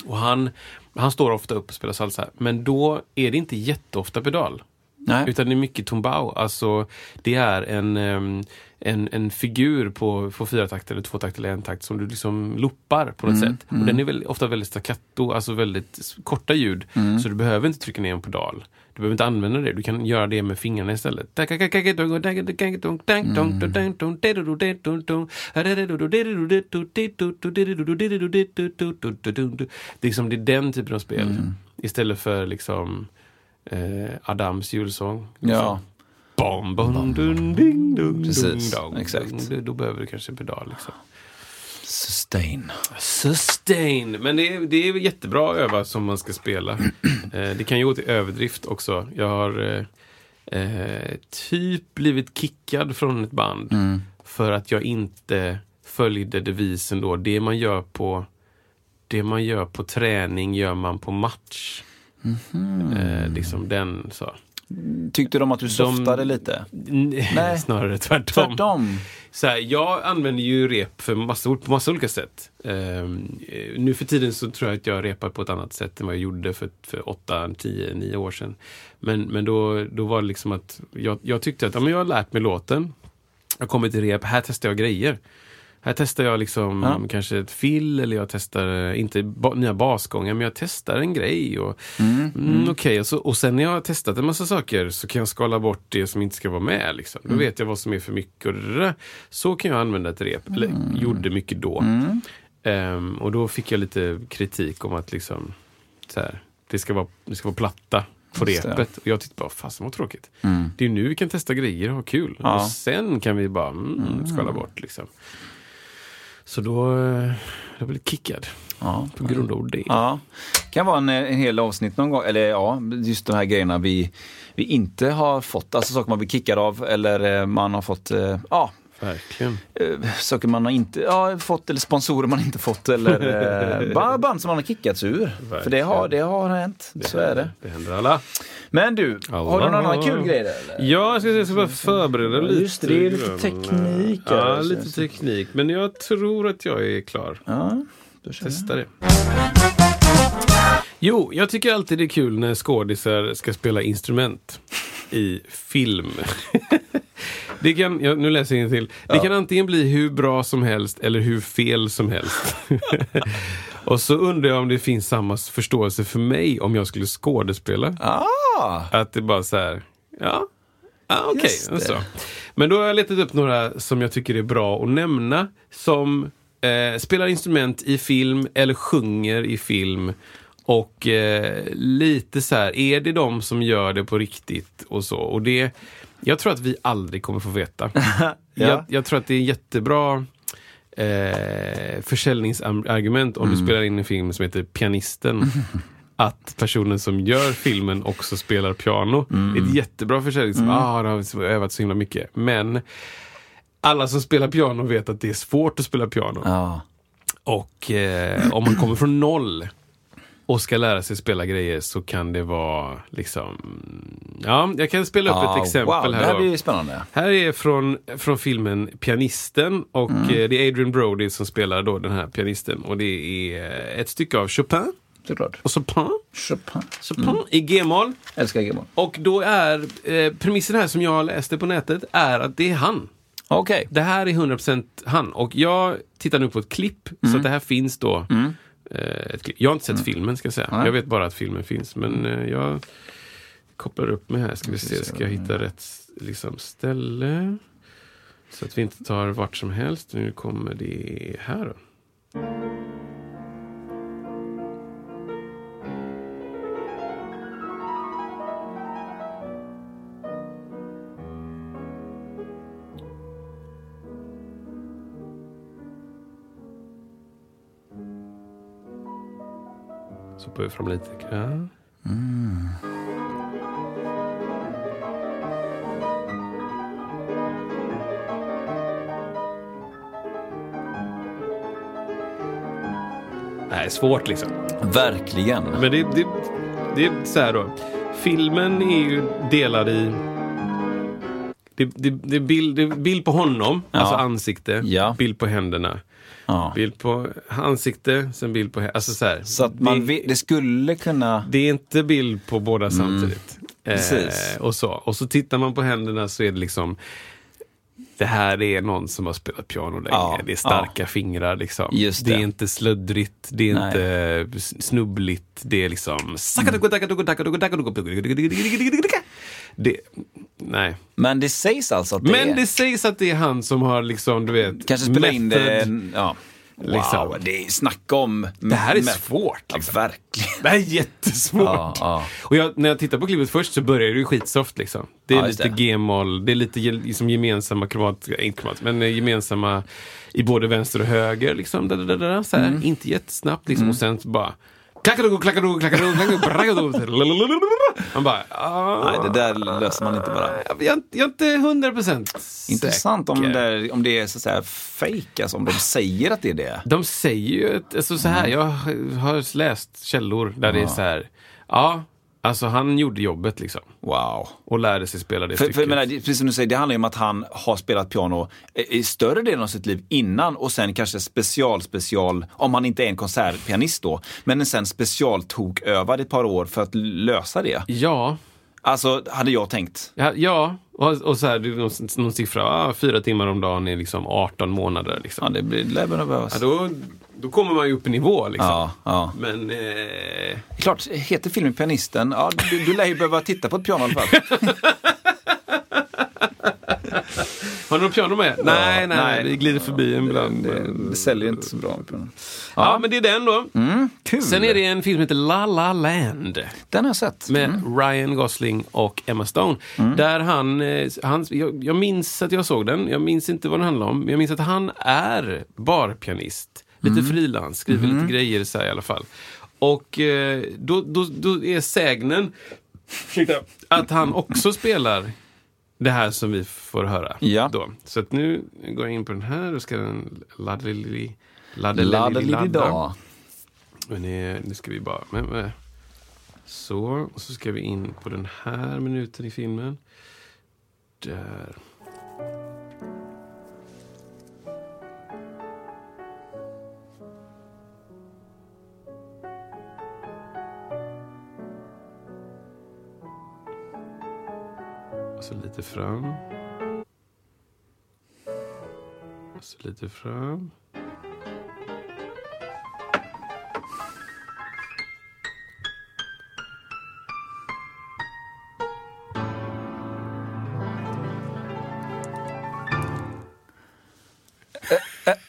[SPEAKER 2] Och han, han står ofta upp och spelar salsa, men då är det inte jätteofta pedal.
[SPEAKER 1] Nej.
[SPEAKER 2] Utan det är mycket tumbao. Alltså, det är en, ehm, en, en figur på, på fyra takt eller två takt eller en takt som du liksom loopar på något sätt. Och den är väl, ofta väldigt staccato, alltså väldigt s- korta ljud. Så du behöver inte trycka ner en pedal. Du behöver inte använda det, du kan göra det med fingrarna istället. Det är, liksom, det är den typen av spel. Istället för liksom eh, Adams julsång. Liksom.
[SPEAKER 1] Ja.
[SPEAKER 2] Bom, bom, dun, ding, dun,
[SPEAKER 1] Precis,
[SPEAKER 2] dun, dong,
[SPEAKER 1] exakt.
[SPEAKER 2] dun. Då- Då behöver du kanske en pedal. Liksom.
[SPEAKER 1] Sustain.
[SPEAKER 2] Sustain! Men det är, det är jättebra att öva som man ska spela. Eh, det kan ju gå till överdrift också. Jag har eh, eh, typ blivit kickad från ett band
[SPEAKER 1] Mm.
[SPEAKER 2] för att jag inte följde devisen då. Det man gör på det man gör på träning gör man på match. Eh, liksom den så.
[SPEAKER 1] Tyckte de att du softade lite? Nej.
[SPEAKER 2] Nej. [LAUGHS] Snarare tvärtom.
[SPEAKER 1] Tvärtom.
[SPEAKER 2] Så här, jag använder ju rep för massa, på massa olika sätt. Ehm, eh, nu för tiden så tror jag att jag repar på ett annat sätt än vad jag gjorde för, för 8, 10, 9 år sedan. Men, men då, då var det liksom att jag, jag tyckte att ja, men jag har lärt mig låten. Jag kommer till rep, här testar jag grejer. Här testar jag liksom
[SPEAKER 1] Ja.
[SPEAKER 2] mm, kanske ett fill eller jag testar, eh, inte ba, nya basgångar, men jag testar en grej. Och, mm, okej, och, så, och sen när jag har testat en massa saker så kan jag skala bort det som inte ska vara med. Liksom.
[SPEAKER 1] Mm.
[SPEAKER 2] Då vet jag vad som är för mycket. Och det där. Så kan jag använda ett rep, eller
[SPEAKER 1] Mm.
[SPEAKER 2] gjorde mycket då. Ehm, och då fick jag lite kritik om att liksom, så här, det, ska vara, det ska vara platta på
[SPEAKER 1] Just det. Mm.
[SPEAKER 2] repet. Och jag tyckte bara, fasen vad tråkigt. Det är nu vi kan testa grejer och ha kul.
[SPEAKER 1] Ja.
[SPEAKER 2] Och sen kan vi bara mm, skala bort. Liksom. Så då, eh, jag blev kickad
[SPEAKER 1] Ja.
[SPEAKER 2] på grund av det.
[SPEAKER 1] Ja, kan vara en, en hel avsnitt någon gång. Eller ja, just de här grejerna vi, vi inte har fått. Alltså saker man blir kickad av eller eh, man har fått, eh, ja,
[SPEAKER 2] Verkligen.
[SPEAKER 1] eh, saker man har inte ja, fått eller sponsorer man inte fått eller
[SPEAKER 2] [LAUGHS]
[SPEAKER 1] eh, bara band som man har kickats ur. För det har, det har hänt, så är det.
[SPEAKER 2] Det händer alla.
[SPEAKER 1] Men du, har du någon
[SPEAKER 2] Alla.
[SPEAKER 1] annan kul grej där? eller?
[SPEAKER 2] Ja, jag ska, jag ska bara förbereda lite.
[SPEAKER 1] Just det, det är lite
[SPEAKER 2] grann.
[SPEAKER 1] teknik här.
[SPEAKER 2] Ja, lite teknik. Men jag tror att jag är klar.
[SPEAKER 1] Ja, då kör vi.
[SPEAKER 2] Testa det. Jo, jag tycker alltid det är kul när skådisar ska spela instrument i
[SPEAKER 1] [LAUGHS]
[SPEAKER 2] film. det kan, ja, nu läser jag till. Det kan antingen bli hur bra som helst eller hur fel
[SPEAKER 1] [LAUGHS]
[SPEAKER 2] som helst. Och så undrar jag om det finns samma förståelse för mig om jag skulle skådespela.
[SPEAKER 1] Ah,
[SPEAKER 2] Att det bara så här, ja, ah, okej.
[SPEAKER 1] Just det.
[SPEAKER 2] så. Men då har jag letat upp några som jag tycker är bra att nämna. Som eh, spelar instrument i film eller sjunger i film. Och eh, lite så här, är det de som gör det på riktigt och så. Och det, jag tror att vi aldrig kommer få veta.
[SPEAKER 1] [LAUGHS]
[SPEAKER 2] jag, jag tror att det är jättebra eh, försäljningsargument om
[SPEAKER 1] Mm.
[SPEAKER 2] du spelar in en film som heter Pianisten.
[SPEAKER 1] [LAUGHS]
[SPEAKER 2] Att personen som gör filmen också spelar piano. Det
[SPEAKER 1] Mm.
[SPEAKER 2] är ett jättebra försäljningsargument. Ah, det har vi övat så himla mycket. Men alla som spelar piano vet att det är svårt att spela piano.
[SPEAKER 1] ja.
[SPEAKER 2] Och eh, om man kommer från noll och ska lära sig spela grejer så kan det vara liksom... Ja, jag kan spela upp
[SPEAKER 1] Ah,
[SPEAKER 2] ett exempel
[SPEAKER 1] wow,
[SPEAKER 2] här.
[SPEAKER 1] Det här
[SPEAKER 2] då.
[SPEAKER 1] blir ju spännande.
[SPEAKER 2] Här är från, från filmen Pianisten och eh, det är Adrian Brody som spelar då den här pianisten. Och det är eh, ett stycke av Chopin
[SPEAKER 1] Såklart.
[SPEAKER 2] och Chopin,
[SPEAKER 1] Chopin.
[SPEAKER 2] Chopin i G-moll.
[SPEAKER 1] Älskar Gilmore.
[SPEAKER 2] Och då är eh, premissen här som jag läste på nätet är att det är han.
[SPEAKER 1] Okej.
[SPEAKER 2] Det här är 100% han. Och jag tittar nu på ett klipp, så att det här finns då. Eh, ett klipp. Jag har inte sett filmen ska jag säga. Jag vet bara att filmen finns. Men eh, jag kopplar upp mig här. Ska vi se, ska jag hitta rätt liksom, ställe? Så att vi inte tar vart som helst. Nu kommer det här då. Så på fram lite grann. Det här är svårt liksom.
[SPEAKER 1] Verkligen.
[SPEAKER 2] Men det, det, det är så här då. Filmen är ju delad i... Det, det, det, är bild, det är bild på honom, alltså ansikte.
[SPEAKER 1] Ja.
[SPEAKER 2] Bild på händerna.
[SPEAKER 1] Ja.
[SPEAKER 2] Bild på ansikte, sen bild på händerna. Alltså så här.
[SPEAKER 1] Så att man det,
[SPEAKER 2] det,
[SPEAKER 1] det skulle kunna...
[SPEAKER 2] det är inte bild på båda samtidigt.
[SPEAKER 1] Mm. Precis.
[SPEAKER 2] Eh, och, så. och så tittar man på händerna så är det liksom... Det här är någon som har spelat piano länge.
[SPEAKER 1] Ja,
[SPEAKER 2] det är starka fingrar liksom.
[SPEAKER 1] Just
[SPEAKER 2] är
[SPEAKER 1] det.
[SPEAKER 2] inte sluddrigt, det är
[SPEAKER 1] Nej.
[SPEAKER 2] inte s- snubbligt. Det är liksom... Det, nej.
[SPEAKER 1] Men det sägs alltså att det är...
[SPEAKER 2] Men det sägs att det är han som har liksom, du vet...
[SPEAKER 1] Kanske spela in det...
[SPEAKER 2] method.
[SPEAKER 1] Ja.
[SPEAKER 2] Liksom.
[SPEAKER 1] Wow, det är snacka om...
[SPEAKER 2] Det här är
[SPEAKER 1] men-
[SPEAKER 2] svårt.
[SPEAKER 1] Ja,
[SPEAKER 2] Liksom.
[SPEAKER 1] verkligen.
[SPEAKER 2] Det här är jättesvårt.
[SPEAKER 1] Ja, ja.
[SPEAKER 2] Och jag, när jag tittar på klippet först så börjar det ju skitsoft liksom. Det är
[SPEAKER 1] Ja, just
[SPEAKER 2] lite
[SPEAKER 1] det.
[SPEAKER 2] g-moll, det är lite ge- liksom gemensamma kromat, eh, inte kromat, men eh, gemensamma i både vänster och höger liksom. Da, da, da, da, så här.
[SPEAKER 1] Mm.
[SPEAKER 2] Inte jättesnabbt liksom och sen så bara Klackadoo, klackadoo, klackadoo, klackadoo, bragadoo, lalalala. Man bara... ah,
[SPEAKER 1] Nej, det där löser man inte bara.
[SPEAKER 2] Jag, är inte- jag är inte hundra procent
[SPEAKER 1] Intressant om det, där- om det är så att säga fake, alltså om de säger att det är det.
[SPEAKER 2] De
[SPEAKER 1] Mm.
[SPEAKER 2] säger ju, ett, alltså så här, jag har läst källor där det är så här, ja, Alltså han gjorde jobbet liksom.
[SPEAKER 1] Wow.
[SPEAKER 2] Och lärde sig spela
[SPEAKER 1] För,
[SPEAKER 2] det
[SPEAKER 1] för
[SPEAKER 2] stycket.
[SPEAKER 1] jag menar, det- precis som du säger, det handlar ju om att han har spelat piano eh, i större delen av sitt liv innan och sen kanske special, special, om han inte är en konsertpianist då, men sen specialtokövade ett par år för att lösa det.
[SPEAKER 2] Ja,
[SPEAKER 1] Alltså, hade jag tänkt.
[SPEAKER 2] ja, ja. Och, och så här, det är någon, någon siffra, ah, fyra timmar om dagen är liksom 18 månader. Liksom.
[SPEAKER 1] Ja, det blir- det lär väl behövas.
[SPEAKER 2] Ja, då, då kommer man ju upp i nivå liksom.
[SPEAKER 1] Ja, ja.
[SPEAKER 2] Men... Eh,
[SPEAKER 1] Klart, heter filmen Pianisten? Ja, du, du lär ju behöva titta på ett piano i alla fall.
[SPEAKER 2] har du någon piano med? nej, nej,
[SPEAKER 1] nej.
[SPEAKER 2] vi glider förbi ibland.
[SPEAKER 1] Det,
[SPEAKER 2] men-
[SPEAKER 1] det säljer inte så bra med piano.
[SPEAKER 2] Ja, men det är den då.
[SPEAKER 1] Kul!
[SPEAKER 2] Sen är det en film som heter La La Land.
[SPEAKER 1] Den har jag sett.
[SPEAKER 2] Med Ryan Gosling och Emma Stone. Där han, eh, han jag, jag minns att jag såg den, jag minns inte vad den handlar om, men jag minns att han är barpianist. Lite frilans, skriver lite grejer så här i alla fall. Och eh, då, då, då är sägnen ursäkta, att han också spelar det här som vi får höra.
[SPEAKER 1] Ja.
[SPEAKER 2] Då. Så att nu går jag in på den här och ska den laddelili...
[SPEAKER 1] Ladelilidag.
[SPEAKER 2] Men det, det ska vi bara... Men, men, så, och så ska vi in på den här minuten i filmen. Där. Och så Alltså lite fram. Och så Alltså lite fram.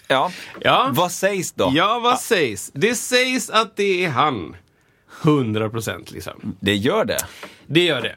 [SPEAKER 1] Ja.
[SPEAKER 2] Ja.
[SPEAKER 1] Vad sägs då?
[SPEAKER 2] Ja, vad sägs? Det sägs att det är han. 100 procent liksom.
[SPEAKER 1] Det gör det.
[SPEAKER 2] Det gör det.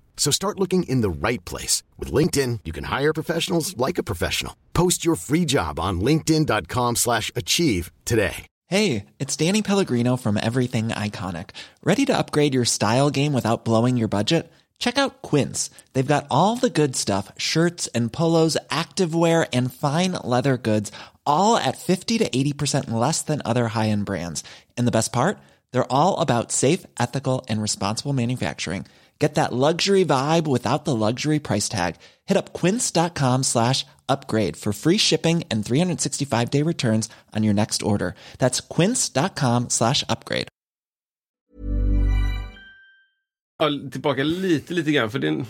[SPEAKER 3] So start looking in the right place. With LinkedIn, you can hire professionals like a professional. Post your free job on linkedin.com/achieve slash achieve today.
[SPEAKER 4] Hey, it's Danny Pellegrino from Everything Iconic. Ready to upgrade your style game without blowing your budget? Check out Quince. They've got all the good stuff shirts and polos, activewear, and fine leather goods, all at 50 to 80% less than other high end brands. And the best part? They're all about safe, ethical, and responsible manufacturing. Get that luxury vibe without the luxury price tag. Hit up quince.com slash upgrade for free shipping and 365 day returns on your next order. That's quince.com slash upgrade.
[SPEAKER 2] ja, tillbaka lite, lite grann. För det, är en-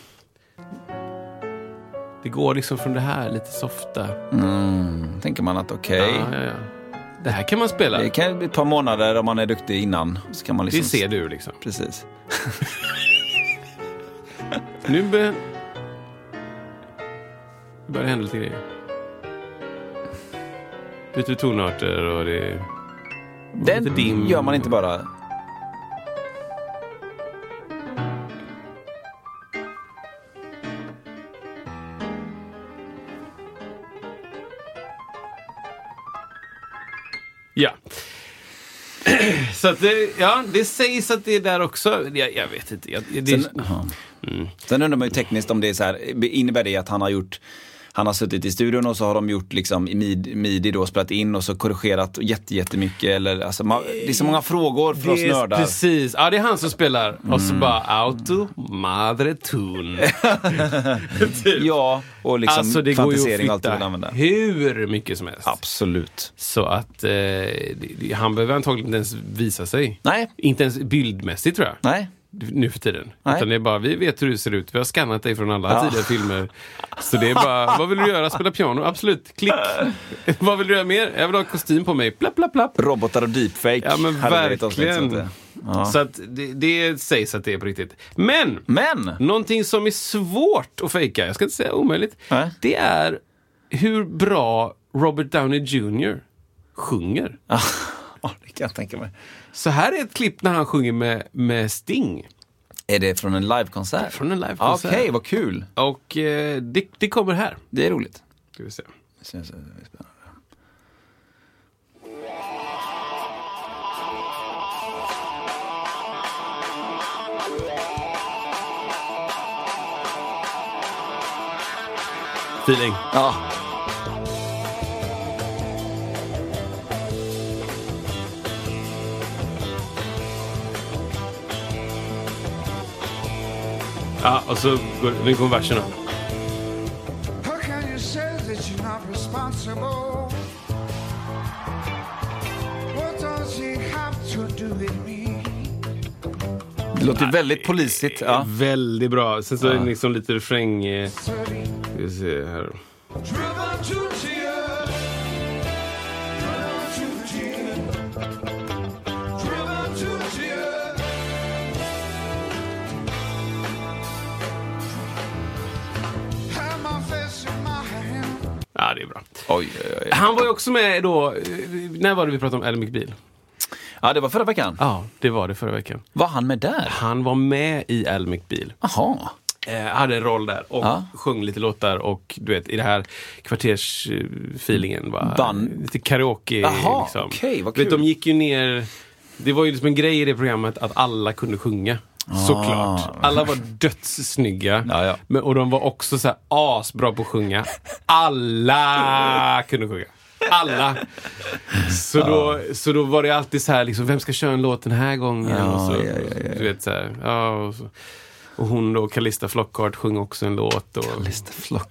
[SPEAKER 2] det går liksom från det här lite softa.
[SPEAKER 1] Mm, tänker man att okej,
[SPEAKER 2] Ja, ja, ja. Det här kan man spela.
[SPEAKER 1] det kan bli ett par månader om man är duktig innan. Så kan man liksom
[SPEAKER 2] Det ser du liksom.
[SPEAKER 1] Precis.
[SPEAKER 2] Nu bör... Nu börjar det hända lite grejer. Byter tonarter och det...
[SPEAKER 1] Den
[SPEAKER 2] lite dim.
[SPEAKER 1] gör man inte bara.
[SPEAKER 2] Ja. [CLEARS THROAT] Så att det, ja, det sägs att det är där också. Jag, jag vet inte. Jag, det,
[SPEAKER 1] Sen, jaha.
[SPEAKER 2] Mm.
[SPEAKER 1] Sen undrar man ju tekniskt om det är så här, innebär det att han har gjort han har suttit i studion och så har de gjort liksom i mid, midi då spelat in och så korrigerat jätte, jättemycket. Eller, alltså, man, det är så många frågor för oss
[SPEAKER 2] det är-
[SPEAKER 1] nördar. Mm.
[SPEAKER 2] Precis. Ja, det är han som spelar. Och så bara auto,
[SPEAKER 1] [LAUGHS]
[SPEAKER 2] madre tun.
[SPEAKER 1] Liksom
[SPEAKER 2] typ.
[SPEAKER 1] Ja, och liksom
[SPEAKER 2] alltså det går ju
[SPEAKER 1] fantisering och
[SPEAKER 2] att
[SPEAKER 1] allt du vill
[SPEAKER 2] flytta
[SPEAKER 1] använda.
[SPEAKER 2] hur mycket som helst.
[SPEAKER 1] Absolut.
[SPEAKER 2] Så att eh, det- det- han behöver antagligen inte ens visa sig.
[SPEAKER 1] Nej.
[SPEAKER 2] Inte ens bildmässigt tror jag.
[SPEAKER 1] Nej.
[SPEAKER 2] nu för tiden.
[SPEAKER 1] Nej.
[SPEAKER 2] Utan det är bara, vi vet hur du ser ut. Vi har skannat dig från alla
[SPEAKER 1] Ja.
[SPEAKER 2] tidigare filmer. Så det är
[SPEAKER 1] [LAUGHS]
[SPEAKER 2] bara, vad vill du göra? Spela piano? Absolut, klick. [LAUGHS] vad vill du göra mer? Jag vill ha kostym på mig. Plapp, plapp, plapp.
[SPEAKER 1] Robotar och deepfake.
[SPEAKER 2] Ja men
[SPEAKER 1] hade varit avsnitt, så att
[SPEAKER 2] verkligen.
[SPEAKER 1] det- Ja.
[SPEAKER 2] Så att det, det sägs att det är på riktigt. Men!
[SPEAKER 1] Men!
[SPEAKER 2] Någonting som är svårt att fejka, jag ska inte säga omöjligt,
[SPEAKER 1] Nej.
[SPEAKER 2] det är hur bra Robert Downey Jr sjunger.
[SPEAKER 1] [LAUGHS] Ja, det kan jag tänka mig.
[SPEAKER 2] Så här är ett klipp när han sjunger med, med Sting.
[SPEAKER 1] Är det från en livekonsert?
[SPEAKER 2] Från en livekonsert.
[SPEAKER 1] Okej, vad kul.
[SPEAKER 2] Och eh, det, det kommer här.
[SPEAKER 1] Det är roligt.
[SPEAKER 2] Ska vi se.
[SPEAKER 1] Syns- syns- syns-
[SPEAKER 2] Feeling.
[SPEAKER 1] Ja,
[SPEAKER 2] Ja, och så går, nu kommer verserna.
[SPEAKER 5] How can you say that you're not responsible? What does it have to do with me?
[SPEAKER 1] det låter ju väldigt polisigt. Ja.
[SPEAKER 2] Väldigt bra. Sen så är det liksom lite refräng. eh,
[SPEAKER 5] Dirty,
[SPEAKER 2] Ska vi se här.
[SPEAKER 5] driven to tears. Driven to tears. Driven to tears. Have my face in my hand.
[SPEAKER 2] Ja, det är bra.
[SPEAKER 1] Oj, oj, oj.
[SPEAKER 2] Han var ju också med då, eh, när var det vi pratade om Ally McBeal?
[SPEAKER 1] ja, det var förra veckan.
[SPEAKER 2] Ja, det var det förra veckan.
[SPEAKER 1] Var han med där?
[SPEAKER 2] Han var med i Ally McBeal.
[SPEAKER 1] Jaha.
[SPEAKER 2] Eh, hade en roll där och
[SPEAKER 1] Ja.
[SPEAKER 2] sjöng lite låtar och du vet i det här kvartersfeelingen. Va?
[SPEAKER 1] Band.
[SPEAKER 2] Lite karaoke.
[SPEAKER 1] Jaha,
[SPEAKER 2] liksom.
[SPEAKER 1] okej, vad
[SPEAKER 2] Du vet,
[SPEAKER 1] kul.
[SPEAKER 2] de gick ju ner, det var ju liksom en grej i det programmet att alla kunde sjunga. Såklart. Alla var dödssnygga.
[SPEAKER 1] Ah. Ja, ja.
[SPEAKER 2] Men, och de var också så här asbra på att sjunga.
[SPEAKER 1] [LAUGHS]
[SPEAKER 2] Alla kunde sjunga. Alla. Så, då, så då var det alltid så här, liksom, vem ska köra en låt den här gången? och så,
[SPEAKER 1] ja, ja, ja.
[SPEAKER 2] Du vet, så här, ja, och så. Och hon då, Calista Flockhart, sjöng också en låt. Och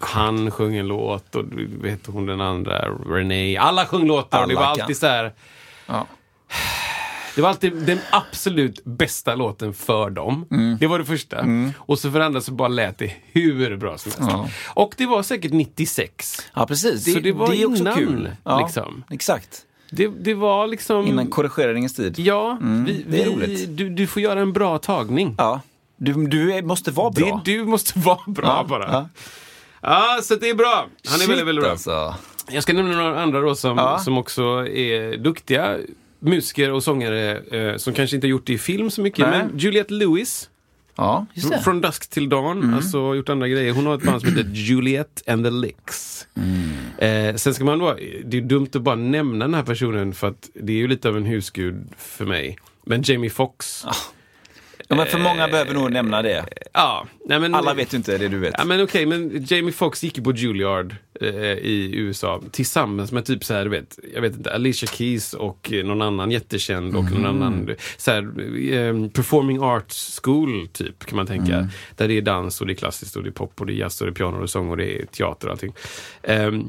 [SPEAKER 2] Han sjöng en låt och du vet hon den andra, Renee. Alla sjöng låtar. och
[SPEAKER 1] Alla
[SPEAKER 2] det var
[SPEAKER 1] kan.
[SPEAKER 2] alltid så här.
[SPEAKER 1] Ja.
[SPEAKER 2] Det var alltid den absolut bästa låten för dem.
[SPEAKER 1] Mm.
[SPEAKER 2] Det var det första. Och så för det andra så bara lät det hur bra som helst.
[SPEAKER 1] Ja.
[SPEAKER 2] Och det var säkert 96.
[SPEAKER 1] Ja, precis.
[SPEAKER 2] Så det var
[SPEAKER 1] är också
[SPEAKER 2] innan,
[SPEAKER 1] kul. Ja,
[SPEAKER 2] liksom.
[SPEAKER 1] Exakt.
[SPEAKER 2] Det, det var liksom...
[SPEAKER 1] Innan korrigeringens tid.
[SPEAKER 2] Ja, vi,
[SPEAKER 1] det är
[SPEAKER 2] vi,
[SPEAKER 1] roligt.
[SPEAKER 2] du, du får göra en bra tagning.
[SPEAKER 1] Ja. Du, du är- måste vara bra.
[SPEAKER 2] Det, du måste vara [LAUGHS] bra
[SPEAKER 1] Ja,
[SPEAKER 2] bara.
[SPEAKER 1] ja.
[SPEAKER 2] Ja. så det är bra. Han är
[SPEAKER 1] Shit,
[SPEAKER 2] väldigt, väldigt bra.
[SPEAKER 1] Alltså.
[SPEAKER 2] Jag ska nämna några andra då som,
[SPEAKER 1] Ja.
[SPEAKER 2] som också är duktiga musiker och sångare eh, som kanske inte har gjort det i film så mycket.
[SPEAKER 1] Nej.
[SPEAKER 2] Men Juliette Lewis,
[SPEAKER 1] Ja, Mm. just det.
[SPEAKER 2] från Dusk till Dawn, alltså gjort andra grejer. Hon har ett band
[SPEAKER 1] [CLEARS THROAT]
[SPEAKER 2] som heter Juliette and the Licks.
[SPEAKER 1] Mm.
[SPEAKER 2] Eh, sen ska man vara, det är dumt att bara nämna den här personen för att det är ju lite av en husgud för mig. Men Jamie Foxx.
[SPEAKER 1] Ah.
[SPEAKER 2] Ja,
[SPEAKER 1] Ja, men för många behöver nog nämna det.
[SPEAKER 2] nej men,
[SPEAKER 1] Alla vet ju inte det du vet.
[SPEAKER 2] Ja, men okej, men Jamie Foxx gick ju på Juilliard eh, i USA tillsammans med typ så här, du vet, jag vet inte, Alicia Keys och eh, någon annan jättekänd och någon annan så här, eh, performing arts school typ kan man tänka. Där det är dans och det är klassiskt och det är pop och det är jazz och det är piano och det är sång och det är teater och allting. Ehm,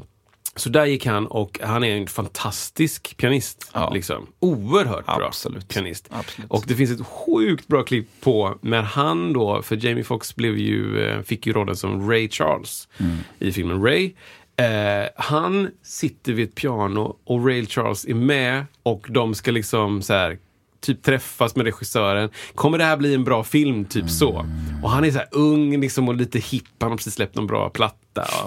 [SPEAKER 2] så där gick han och han är en fantastisk pianist.
[SPEAKER 1] Ja.
[SPEAKER 2] Liksom. Oerhört bra
[SPEAKER 1] Absolut.
[SPEAKER 2] pianist.
[SPEAKER 1] Absolut.
[SPEAKER 2] Och det finns ett sjukt bra klipp på när han då, för Jamie Foxx blev ju, eh, fick ju rollen som Ray Charles
[SPEAKER 1] Mm.
[SPEAKER 2] i filmen Ray. Eh, han sitter vid ett piano och Ray Charles är med och de ska liksom så här typ träffas med regissören. Kommer det här bli en bra film? Typ så. Och han är så här ung liksom och lite hipp. Han har precis släppt någon bra platta.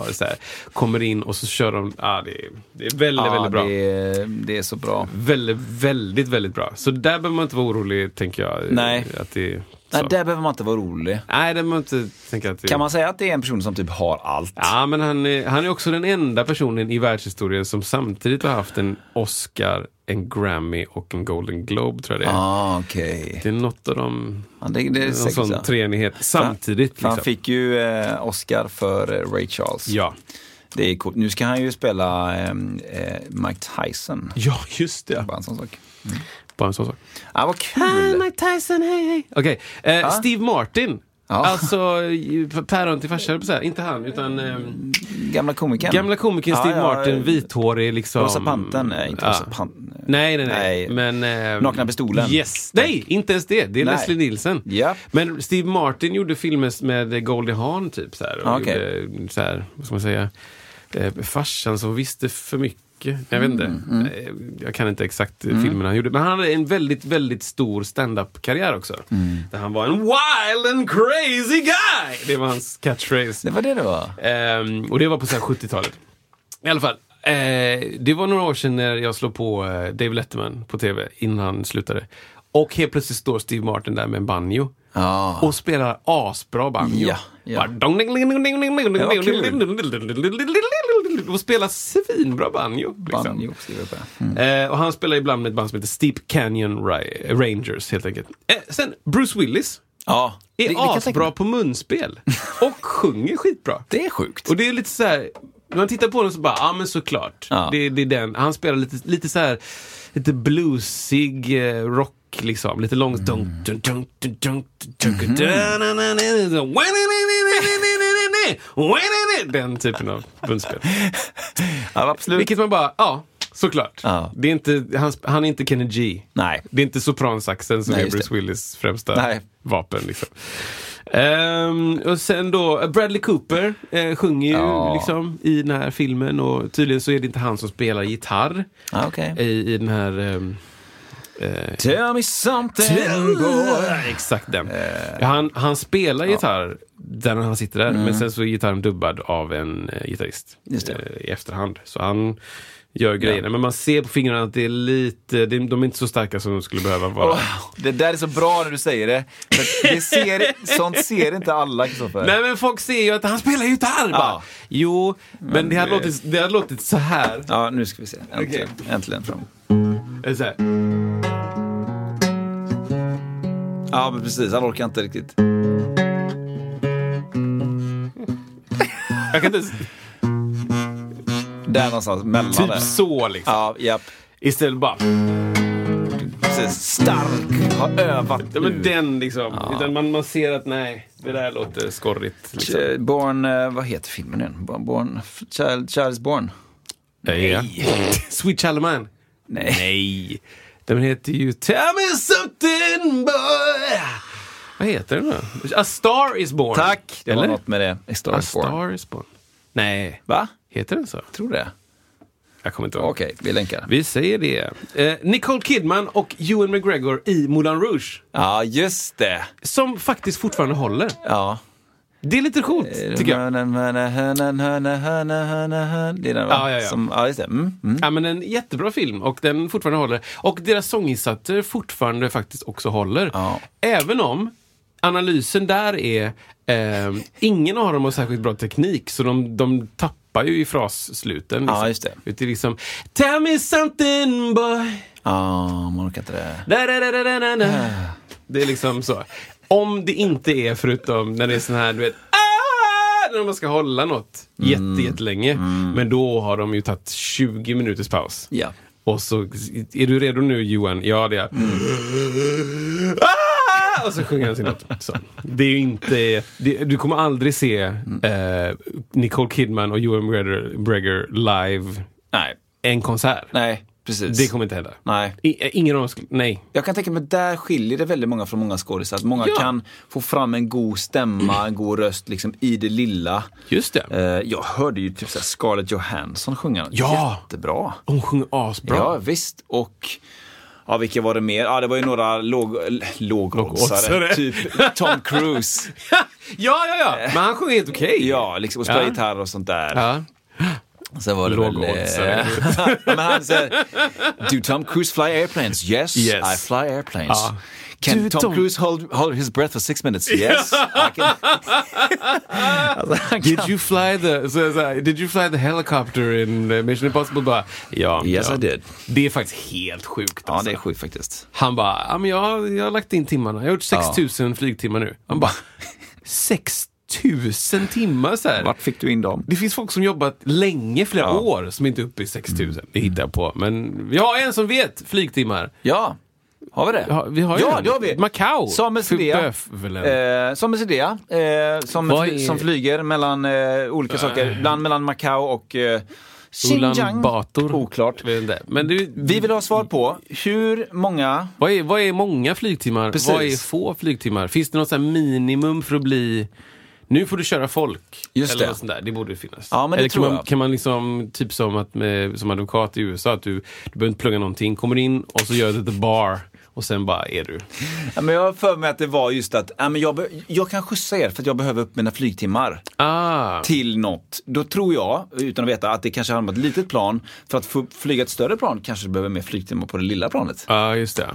[SPEAKER 2] Och så här. Kommer in och så kör de. Ah, det, är, det är väldigt,
[SPEAKER 1] Ja,
[SPEAKER 2] väldigt bra.
[SPEAKER 1] Det, är- det är så bra.
[SPEAKER 2] Väldigt, väldigt, väldigt bra. Så där behöver man inte vara orolig, tänker jag.
[SPEAKER 1] Nej.
[SPEAKER 2] Att det,
[SPEAKER 1] Nej,
[SPEAKER 2] så.
[SPEAKER 1] där behöver man inte vara orolig.
[SPEAKER 2] Nej, det behöver man inte tänka att det...
[SPEAKER 1] Kan man säga att det är en person som typ har allt?
[SPEAKER 2] Ja, men han är, han är också den enda personen i världshistorien som samtidigt har haft en Oscar, en Grammy och en Golden Globe, tror jag det är.
[SPEAKER 1] Ah, okej.
[SPEAKER 2] Det är något av dem...
[SPEAKER 1] Ja, det, det är
[SPEAKER 2] Någon
[SPEAKER 1] säkert
[SPEAKER 2] sån
[SPEAKER 1] så.
[SPEAKER 2] treenighet samtidigt.
[SPEAKER 1] För Han
[SPEAKER 2] liksom.
[SPEAKER 1] fick ju eh, Oscar för eh, Ray Charles.
[SPEAKER 2] Ja.
[SPEAKER 1] Det är coolt. Nu ska han ju spela eh, eh, Mike Tyson.
[SPEAKER 2] ja, just det.
[SPEAKER 1] Bara en sån sak.
[SPEAKER 2] Bara en sån sak.
[SPEAKER 1] Ah, vad
[SPEAKER 2] Hi,
[SPEAKER 1] kul!
[SPEAKER 2] Mike Tyson, hej, hej. Okej, eh, Steve Martin.
[SPEAKER 1] Ja.
[SPEAKER 2] Alltså, ju- päron till farsa, höll jag på att säga. Inte han, utan... ehm,
[SPEAKER 1] Gamla komikern.
[SPEAKER 2] Gamla komikern
[SPEAKER 1] Ja,
[SPEAKER 2] Steve
[SPEAKER 1] ja,
[SPEAKER 2] Martin,
[SPEAKER 1] eh,
[SPEAKER 2] vithårig liksom.
[SPEAKER 1] Rosa Pantern. Nej, inte
[SPEAKER 2] Ja.
[SPEAKER 1] Rosa Pantern.
[SPEAKER 2] Nej, nej,
[SPEAKER 1] Nej.
[SPEAKER 2] nej. Men, eh,
[SPEAKER 1] Nakna pistolen.
[SPEAKER 2] Yes. Nej, inte ens det. Det är
[SPEAKER 1] Nej.
[SPEAKER 2] Leslie Nielsen.
[SPEAKER 1] Japp.
[SPEAKER 2] Men Steve Martin gjorde filmer med Goldie Hawn typ så här. Och
[SPEAKER 1] Ah, Okej.
[SPEAKER 2] gjorde, mm, så här, vad ska man säga, eh, farsan som visste för mycket. Jag vet inte.
[SPEAKER 1] Mm,
[SPEAKER 2] Eh, Jag kan inte exakt mm. filmerna han gjorde. Men han hade en väldigt, väldigt stor stand-up-karriär också.
[SPEAKER 1] Mm.
[SPEAKER 2] Där han var en wild and crazy guy! Det var hans catchphrase.
[SPEAKER 1] Det var det det var.
[SPEAKER 2] Ehm, och det var på så här 70-talet. I alla fall. eh, det var några år sedan när jag slog på eh, Dave Letterman på tv innan han slutade. Och helt plötsligt står Steve Martin där med en banjo.
[SPEAKER 1] Ja.
[SPEAKER 2] Och spelar asbra banjo.
[SPEAKER 1] Ja, ja.
[SPEAKER 2] Bara dong, ding, ding, ding, ding, ding, ding,
[SPEAKER 1] Ja, vad
[SPEAKER 2] ding. Och spelar svinbra banjo. Liksom.
[SPEAKER 1] Banjo skriver jag på det.
[SPEAKER 2] Eh, och han spelar ibland med ett band som heter Steep Canyon Ra- Rangers helt enkelt. Eh, sen Bruce Willis
[SPEAKER 1] Ja.
[SPEAKER 2] är
[SPEAKER 1] Det- det kan jag tänka
[SPEAKER 2] asbra
[SPEAKER 1] mig.
[SPEAKER 2] på
[SPEAKER 1] [LAUGHS]
[SPEAKER 2] munspel. Och sjunger skitbra.
[SPEAKER 1] Det är sjukt.
[SPEAKER 2] Och det är lite så här, när man tittar på den så bara, ja men såklart.
[SPEAKER 1] Ja.
[SPEAKER 2] Det, det är den. Han spelar lite, lite så här, lite bluesig eh, rock. Liksom, lite långt. dunk, dunk, dunk, dunk, dunk, dunk, dunk, dun, dun, dun, dun, dun, wa- ni- ni- ni- ni- ni- ni- ni- ni- wa- ni- ni- Den typen av munspel.
[SPEAKER 1] Ja, absolut.
[SPEAKER 2] Vilket man bara, ja, såklart.
[SPEAKER 1] Ja.
[SPEAKER 2] Det är inte, han, han är inte Kenny G.
[SPEAKER 1] Nej.
[SPEAKER 2] Det är inte sopransaxen som
[SPEAKER 1] Nej,
[SPEAKER 2] är
[SPEAKER 1] just
[SPEAKER 2] Bruce
[SPEAKER 1] det.
[SPEAKER 2] Willis främsta
[SPEAKER 1] Nej.
[SPEAKER 2] vapen. Liksom. Ehm, och sen då, eh, Bradley Cooper eh, sjunger ju
[SPEAKER 1] Ja.
[SPEAKER 2] liksom, i den här filmen och tydligen så är det inte han som spelar gitarr
[SPEAKER 1] Ja, okej.
[SPEAKER 2] i, i den här... ehm,
[SPEAKER 1] Tell me something boy.
[SPEAKER 2] Exakt den.
[SPEAKER 1] Eh.
[SPEAKER 2] Han, han spelar gitarr där han sitter där, men sen så är gitarren dubbad av en eh, gitarrist
[SPEAKER 1] Mm. Just det.
[SPEAKER 2] eh, i efterhand. Så han gör grejerna, men man ser på fingrarna att det är lite, det, de är inte så starka som de skulle behöva vara.
[SPEAKER 1] Åh, det där är så bra när du säger det. För att det ser, sånt ser inte alla Kristoffer.
[SPEAKER 2] Nej men folk ser ju att han spelar gitarr bara.
[SPEAKER 1] Ja.
[SPEAKER 2] Jo, men, det, hade
[SPEAKER 1] det-
[SPEAKER 2] låtit, det hade låtit så här.
[SPEAKER 1] Ja, nu ska vi se. Äntligen. Äntligen fram.
[SPEAKER 2] Eller Så här.
[SPEAKER 1] Ja, men precis. Han orkar inte riktigt.
[SPEAKER 2] Jag kan inte ens,
[SPEAKER 1] Där någonstans, mellan där.
[SPEAKER 2] typ så liksom.
[SPEAKER 1] Ja, japp.
[SPEAKER 2] Istället bara,
[SPEAKER 1] Precis. Stark. Har övat
[SPEAKER 2] ja, men
[SPEAKER 1] nu.
[SPEAKER 2] den liksom. Utan man, man ser att nej, det där låter skorrigt. Liksom.
[SPEAKER 1] Eh, Born, eh, vad heter filmen igen? Born, Born Child, Child is Born.
[SPEAKER 2] [LAUGHS] Sweet Child of Mine.
[SPEAKER 1] Nej.
[SPEAKER 2] Nej. Den heter ju Tell me something boy. Vad heter den då? A Star Is Born.
[SPEAKER 1] Tack! Det var
[SPEAKER 2] Eller?
[SPEAKER 1] något med det. A Star
[SPEAKER 2] A
[SPEAKER 1] is Born.
[SPEAKER 2] Star Is Born. Nej.
[SPEAKER 1] Va?
[SPEAKER 2] Heter den så?
[SPEAKER 1] Tror det.
[SPEAKER 2] Jag kommer inte ihåg.
[SPEAKER 1] Okej, vi länkar.
[SPEAKER 2] Vi säger det. Eh, Nicole Kidman och Ewan McGregor i Moulin Rouge.
[SPEAKER 1] Ja, just det.
[SPEAKER 2] Som faktiskt fortfarande håller.
[SPEAKER 1] Ja.
[SPEAKER 2] Det är lite
[SPEAKER 1] Eh,
[SPEAKER 2] coolt, tycker jag.
[SPEAKER 1] Det är den va?
[SPEAKER 2] Ja, ja, ja.
[SPEAKER 1] Som, ja, just det. Mm, mm.
[SPEAKER 2] Ja, men en jättebra film och den fortfarande håller. Och deras sånginsatser fortfarande faktiskt också håller.
[SPEAKER 1] Ja.
[SPEAKER 2] Även om analysen där är eh, ingen av dem har särskilt bra teknik så de, de tappar ju i frassluten. Liksom.
[SPEAKER 1] Ja, just det.
[SPEAKER 2] är liksom Tell me something boy.
[SPEAKER 1] Ja, man orkar inte det.
[SPEAKER 2] Da, da, da, da, da, da, da.
[SPEAKER 1] Ah.
[SPEAKER 2] Det är liksom så. Om det inte är förutom när det är sån här, du vet, "Ah!" när man ska hålla något
[SPEAKER 1] Mm.
[SPEAKER 2] jätte, jättelänge. Men då har de ju tagit 20 minuters paus.
[SPEAKER 1] Ja.
[SPEAKER 2] Och så, är du redo nu Johan? Ja, det är jag.
[SPEAKER 1] Mm.
[SPEAKER 2] Ah! Och så sjunger han sin låt. Så. Det är ju inte, det, du kommer aldrig se
[SPEAKER 1] Mm.
[SPEAKER 2] eh, Nicole Kidman och Johan McGregor McGregor live
[SPEAKER 1] Nej.
[SPEAKER 2] en konsert.
[SPEAKER 1] Nej, precis.
[SPEAKER 2] Det kommer inte hända.
[SPEAKER 1] Nej.
[SPEAKER 2] I, ingen av dem skulle, nej.
[SPEAKER 1] Jag kan tänka mig att där skiljer det väldigt många från många skådisar. Att många
[SPEAKER 2] Ja.
[SPEAKER 1] kan få fram en god stämma, en god röst liksom i det lilla.
[SPEAKER 2] Just det.
[SPEAKER 1] Eh, jag hörde ju typ så här Scarlett Johansson sjunga
[SPEAKER 2] Ja.
[SPEAKER 1] jättebra.
[SPEAKER 2] Hon sjunger asbra.
[SPEAKER 1] Ja, visst. Och ja, vilka var det mer? Ja, det var ju några låg, l-
[SPEAKER 2] Lågoddsare.
[SPEAKER 1] lågoddsare. Typ Tom
[SPEAKER 2] [LAUGHS]
[SPEAKER 1] Cruise.
[SPEAKER 2] ja, ja, ja. Men han sjunger helt okej.
[SPEAKER 1] Eh. Ja, liksom, och spelade
[SPEAKER 2] Ja.
[SPEAKER 1] gitarr och sånt där.
[SPEAKER 2] Ja.
[SPEAKER 1] Sen var det väl...
[SPEAKER 2] Lågoddsare.
[SPEAKER 1] eh, ja, men han säger, Do Tom Cruise fly airplanes? Yes,
[SPEAKER 2] Yes.
[SPEAKER 1] I fly airplanes.
[SPEAKER 2] Ja.
[SPEAKER 1] Can
[SPEAKER 2] Du,
[SPEAKER 1] Tom,
[SPEAKER 2] Tom-
[SPEAKER 1] Cruise hold, hold his breath for six minutes? Yes. I [LAUGHS] can... alltså, han kan...
[SPEAKER 2] [LAUGHS] Did you fly the, så, så, här, did you fly the helicopter in eh, Mission Impossible? Bara, ja,
[SPEAKER 1] Yes,
[SPEAKER 2] ja.
[SPEAKER 1] I did.
[SPEAKER 2] Det är faktiskt helt sjukt.
[SPEAKER 1] Ja,
[SPEAKER 2] alltså.
[SPEAKER 1] det är sjukt faktiskt.
[SPEAKER 2] Han bara, ja, men jag, jag har lagt in timmarna. Jag har gjort 6000 flygtimmar nu. Han bara, 6000 timmar? Så här.
[SPEAKER 1] Vart fick du in dem?
[SPEAKER 2] Det finns folk som jobbat länge, flera
[SPEAKER 1] Ja.
[SPEAKER 2] år, som inte är uppe i 6000. Det hittar jag på. Men vi har en som vet flygtimmar.
[SPEAKER 1] Ja. Har vi det?
[SPEAKER 2] Ja, vi har ju
[SPEAKER 1] ja,
[SPEAKER 2] den.
[SPEAKER 1] det har vi.
[SPEAKER 2] Macau.
[SPEAKER 1] Samuel Sidea.
[SPEAKER 2] Förbövelen.
[SPEAKER 1] Eh, Samuel Sidea, eh, som,
[SPEAKER 2] Vad
[SPEAKER 1] fly-
[SPEAKER 2] är-
[SPEAKER 1] som flyger mellan eh, olika saker. Bland mellan Macau och eh, Xinjiang.
[SPEAKER 2] Bator.
[SPEAKER 1] Oklart.
[SPEAKER 2] Jag vet inte. Men du,
[SPEAKER 1] Vi vill ha svar på hur många...
[SPEAKER 2] vad, är, vad är många flygtimmar?
[SPEAKER 1] Precis.
[SPEAKER 2] Vad är få flygtimmar? Finns det något så här minimum för att bli... Nu får du köra folk.
[SPEAKER 1] Just
[SPEAKER 2] Eller
[SPEAKER 1] det.
[SPEAKER 2] något sånt där. Det borde ju finnas.
[SPEAKER 1] Ja, men det
[SPEAKER 2] Eller kan,
[SPEAKER 1] tror
[SPEAKER 2] man,
[SPEAKER 1] jag.
[SPEAKER 2] kan man liksom, typ som, att med, som advokat i USA, att du, du behöver inte plugga någonting. Kommer in och så gör du the bar och sen bara är du.
[SPEAKER 1] Ja, men jag har för mig att det var just att ja, men jag, be- jag kan skjutsa er för att jag behöver upp mina flygtimmar.
[SPEAKER 2] Ah,
[SPEAKER 1] till något. Då tror jag, utan att veta, att det kanske handlar om ett litet plan. För att få flyga ett större plan kanske du behöver mer flygtimmar på det lilla planet.
[SPEAKER 2] ah just det.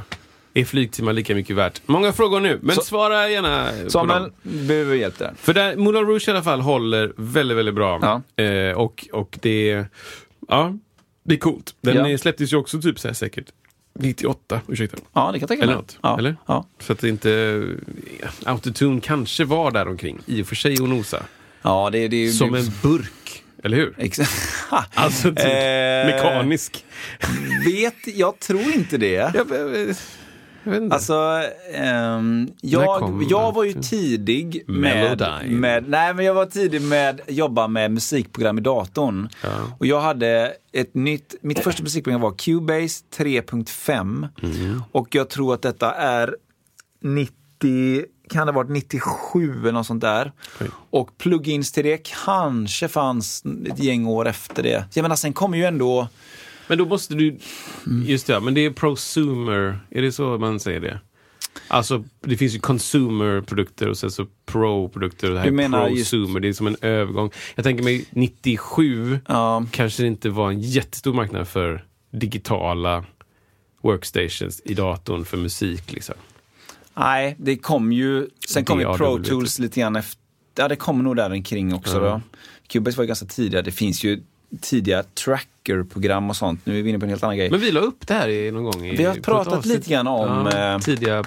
[SPEAKER 2] Är flygtimmar lika mycket värt? Många frågor nu, men
[SPEAKER 1] Så-
[SPEAKER 2] svara gärna eh, på
[SPEAKER 1] Samuel,
[SPEAKER 2] dem.
[SPEAKER 1] behöver hjälp där.
[SPEAKER 2] För där, Moulin Rouge i alla fall håller väldigt, väldigt bra.
[SPEAKER 1] Ja.
[SPEAKER 2] Eh, och, och det... Ja, det är coolt. Den
[SPEAKER 1] Ja.
[SPEAKER 2] eh, släpptes ju också typ så här säkert 98, ursäkta.
[SPEAKER 1] Ja, det kan jag tänka
[SPEAKER 2] Eller
[SPEAKER 1] mig.
[SPEAKER 2] något,
[SPEAKER 1] Ja.
[SPEAKER 2] eller?
[SPEAKER 1] Ja.
[SPEAKER 2] Så att det inte... ja, Autotune kanske var där omkring i och för sig och nosa.
[SPEAKER 1] ja, det, det är ju...
[SPEAKER 2] Som en burk, eller hur?
[SPEAKER 1] Exakt.
[SPEAKER 2] Alltså typ
[SPEAKER 1] Eh,
[SPEAKER 2] mekanisk.
[SPEAKER 1] Vet, [LAUGHS] jag tror inte det.
[SPEAKER 2] Jag, jag, jag
[SPEAKER 1] eh,
[SPEAKER 2] vet inte.
[SPEAKER 1] Alltså, ehm,
[SPEAKER 2] När
[SPEAKER 1] jag,
[SPEAKER 2] kom
[SPEAKER 1] jag var ju
[SPEAKER 2] Melody?
[SPEAKER 1] tidig med,
[SPEAKER 2] Melody.
[SPEAKER 1] med... Nej, men jag var tidig med att jobba med musikprogram i datorn. Och jag hade ett nytt... Mitt första musikprogram var Cubase 3.5. Och jag tror att detta är 90... Kan det ha varit 97 eller något sånt där. Och plugins till det kanske fanns ett gäng år efter det. Jag menar, sen kom ju ändå...
[SPEAKER 2] Men då måste du... Just det, ja, men det är prosumer. Är det så man säger det? Alltså, det finns ju consumer-produkter och sen så pro-produkter. och Det här
[SPEAKER 1] Du menar
[SPEAKER 2] är
[SPEAKER 1] just-
[SPEAKER 2] prosumer, det är som en övergång. Jag tänker mig 97
[SPEAKER 1] Ja.
[SPEAKER 2] kanske det inte var en jättestor marknad för digitala workstations i datorn för musik. Liksom.
[SPEAKER 1] Nej, det kom ju... Sen kom ju
[SPEAKER 2] DAW
[SPEAKER 1] Pro
[SPEAKER 2] lite.
[SPEAKER 1] Tools lite grann efter. Ja, det kom nog där omkring också då. Cubase var ju ganska tidiga. Det finns ju tidiga tracker-program och sånt. Nu är vi inne på en helt annan grej.
[SPEAKER 2] Men vi la upp det här i- någon gång. I,
[SPEAKER 1] Vi har
[SPEAKER 2] på ett
[SPEAKER 1] pratat
[SPEAKER 2] avsnitt.
[SPEAKER 1] lite grann om,
[SPEAKER 2] Ja,
[SPEAKER 1] eh,
[SPEAKER 2] tidiga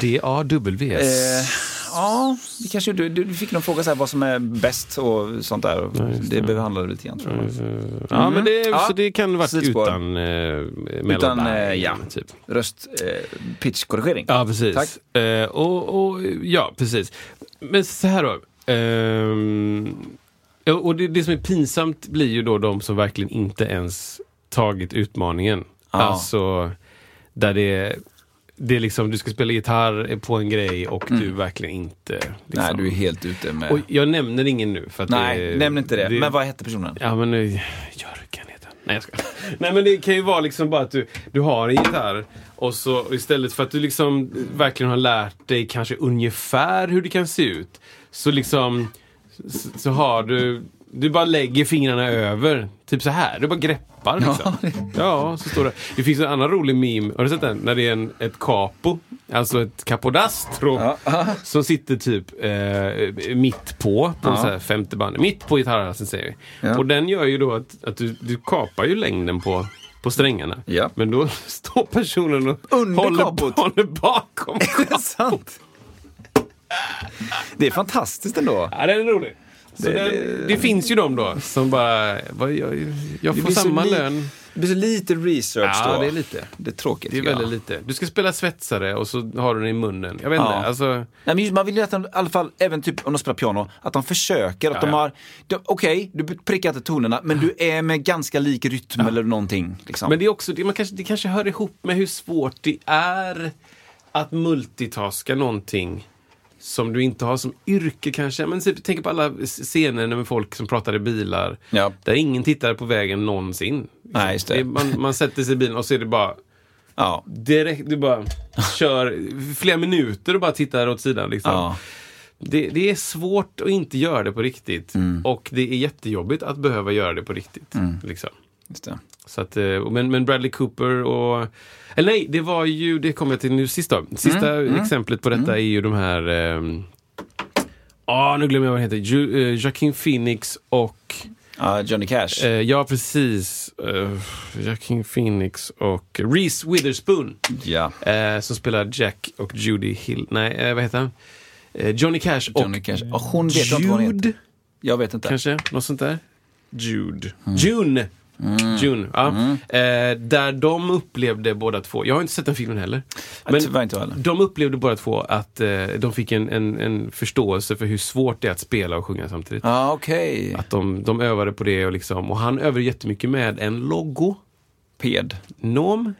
[SPEAKER 2] DAWS.
[SPEAKER 1] Eh, ja, vi kanske, du, du fick någon fråga så här, vad som är bäst och sånt där. Och det behandlade vi lite grann tror jag.
[SPEAKER 2] Ja, men det,
[SPEAKER 1] Mm. Ja.
[SPEAKER 2] så det kan varit
[SPEAKER 1] Sidospår.
[SPEAKER 2] utan eh,
[SPEAKER 1] Utan,
[SPEAKER 2] mellanband,
[SPEAKER 1] eh, ja,
[SPEAKER 2] Typ.
[SPEAKER 1] röst, eh, pitch-korrigering.
[SPEAKER 2] Ja, precis.
[SPEAKER 1] Tack.
[SPEAKER 2] Eh, och, och, ja, precis. Men så här då. Ehm, ja, och det, det som är pinsamt blir ju då de som verkligen inte ens tagit utmaningen.
[SPEAKER 1] Ja.
[SPEAKER 2] Alltså, där det, det är liksom, du ska spela gitarr eh, på en grej och du verkligen inte... Liksom.
[SPEAKER 1] Mm. Nej, du är helt ute med...
[SPEAKER 2] och jag nämner ingen nu. För att
[SPEAKER 1] Nej,
[SPEAKER 2] det,
[SPEAKER 1] nämn inte det. Men vad hette personen?
[SPEAKER 2] Ja men eh, Jörgen heter han. Nej jag skojar. [LAUGHS] Nej men det kan ju vara liksom bara att du, du har en gitarr och så och istället för att du liksom verkligen har lärt dig kanske ungefär hur det kan se ut. Så liksom så, så har du, du bara lägger fingrarna över. Typ så här, du bara greppar liksom. Ja, så står det. Det finns en annan rolig meme, har du sett den? När det är en, ett capo, alltså ett capodastro. [LAUGHS] Som sitter typ eh, mitt på, på så här femte bandet. Mitt på gitarrhalsen säger vi. Och den gör ju då att, att du, du kapar ju längden på, på strängarna.
[SPEAKER 1] Ja.
[SPEAKER 2] Men då [LAUGHS] står personen och
[SPEAKER 1] Under
[SPEAKER 2] håller,
[SPEAKER 1] kapot.
[SPEAKER 2] [LAUGHS] håller bakom.
[SPEAKER 1] Det är sant! Det är fantastiskt ändå.
[SPEAKER 2] ja, den är rolig. Så det, den, det, finns ju de då som bara, vad, jag, jag
[SPEAKER 1] Det
[SPEAKER 2] får
[SPEAKER 1] blir så
[SPEAKER 2] samma
[SPEAKER 1] li-
[SPEAKER 2] lön.
[SPEAKER 1] Det blir så lite research
[SPEAKER 2] Ja,
[SPEAKER 1] då.
[SPEAKER 2] det är lite.
[SPEAKER 1] Det är tråkigt.
[SPEAKER 2] Det är
[SPEAKER 1] tycker jag.
[SPEAKER 2] väldigt lite. Du ska spela svetsare och så har du den i munnen. Jag vet inte,
[SPEAKER 1] Ja.
[SPEAKER 2] alltså.
[SPEAKER 1] Nej, men just, man vill ju att de, i alla fall, även typ om de spelar piano, att de försöker. Att
[SPEAKER 2] Ja,
[SPEAKER 1] de
[SPEAKER 2] ja.
[SPEAKER 1] har, de- okej, du prickar inte tonerna, men du är med ganska lik rytm eller någonting. Liksom.
[SPEAKER 2] Men det, är också, det, man kanske, det kanske hör ihop med hur svårt det är att multitaska någonting som du inte har som yrke kanske. Men typ, tänk på alla scener med folk som pratar i bilar.
[SPEAKER 1] Ja.
[SPEAKER 2] Där ingen tittar på vägen någonsin.
[SPEAKER 1] Nej, just det.
[SPEAKER 2] är- man, man sätter sig i bilen och så är det bara
[SPEAKER 1] ja.
[SPEAKER 2] direkt, du bara kör flera minuter och bara tittar åt sidan. Liksom.
[SPEAKER 1] Ja.
[SPEAKER 2] Det, det är svårt att inte göra det på riktigt.
[SPEAKER 1] Mm.
[SPEAKER 2] Och det är jättejobbigt att behöva göra det på riktigt. Liksom.
[SPEAKER 1] Just det.
[SPEAKER 2] Så att, eh, men, men Bradley Cooper och... Eller nej, det var ju, det kommer jag till nu sist då. Sista
[SPEAKER 1] Mm,
[SPEAKER 2] exemplet på detta är ju de här... ehm, Ah, nu glömmer jag vad han heter. Ju, eh, Joaquin Phoenix och...
[SPEAKER 1] Ja, Johnny Cash.
[SPEAKER 2] Eh, ja, precis. Eh, Joaquin Phoenix och Reese Witherspoon.
[SPEAKER 1] ja.
[SPEAKER 2] Eh, som spelar Jack och Judy Hill. Nej, eh, vad heter han? Eh, Johnny Cash och
[SPEAKER 1] Johnny Cash. Och hon vet jag inte vad hon heter.
[SPEAKER 2] Jude.
[SPEAKER 1] Jag vet inte.
[SPEAKER 2] Kanske, något sånt där. Jude.
[SPEAKER 1] Mm.
[SPEAKER 2] June! June, ja. Eh, där de upplevde båda två, jag har inte sett den filmen heller.
[SPEAKER 1] Men, tyvärr inte jag heller.
[SPEAKER 2] de upplevde båda två att eh, de fick en, en, en förståelse för hur svårt det är att spela och sjunga samtidigt.
[SPEAKER 1] Ja, okej.
[SPEAKER 2] Att de, de övade på det och liksom, och han övade jättemycket med en
[SPEAKER 1] Ped.
[SPEAKER 2] logonom.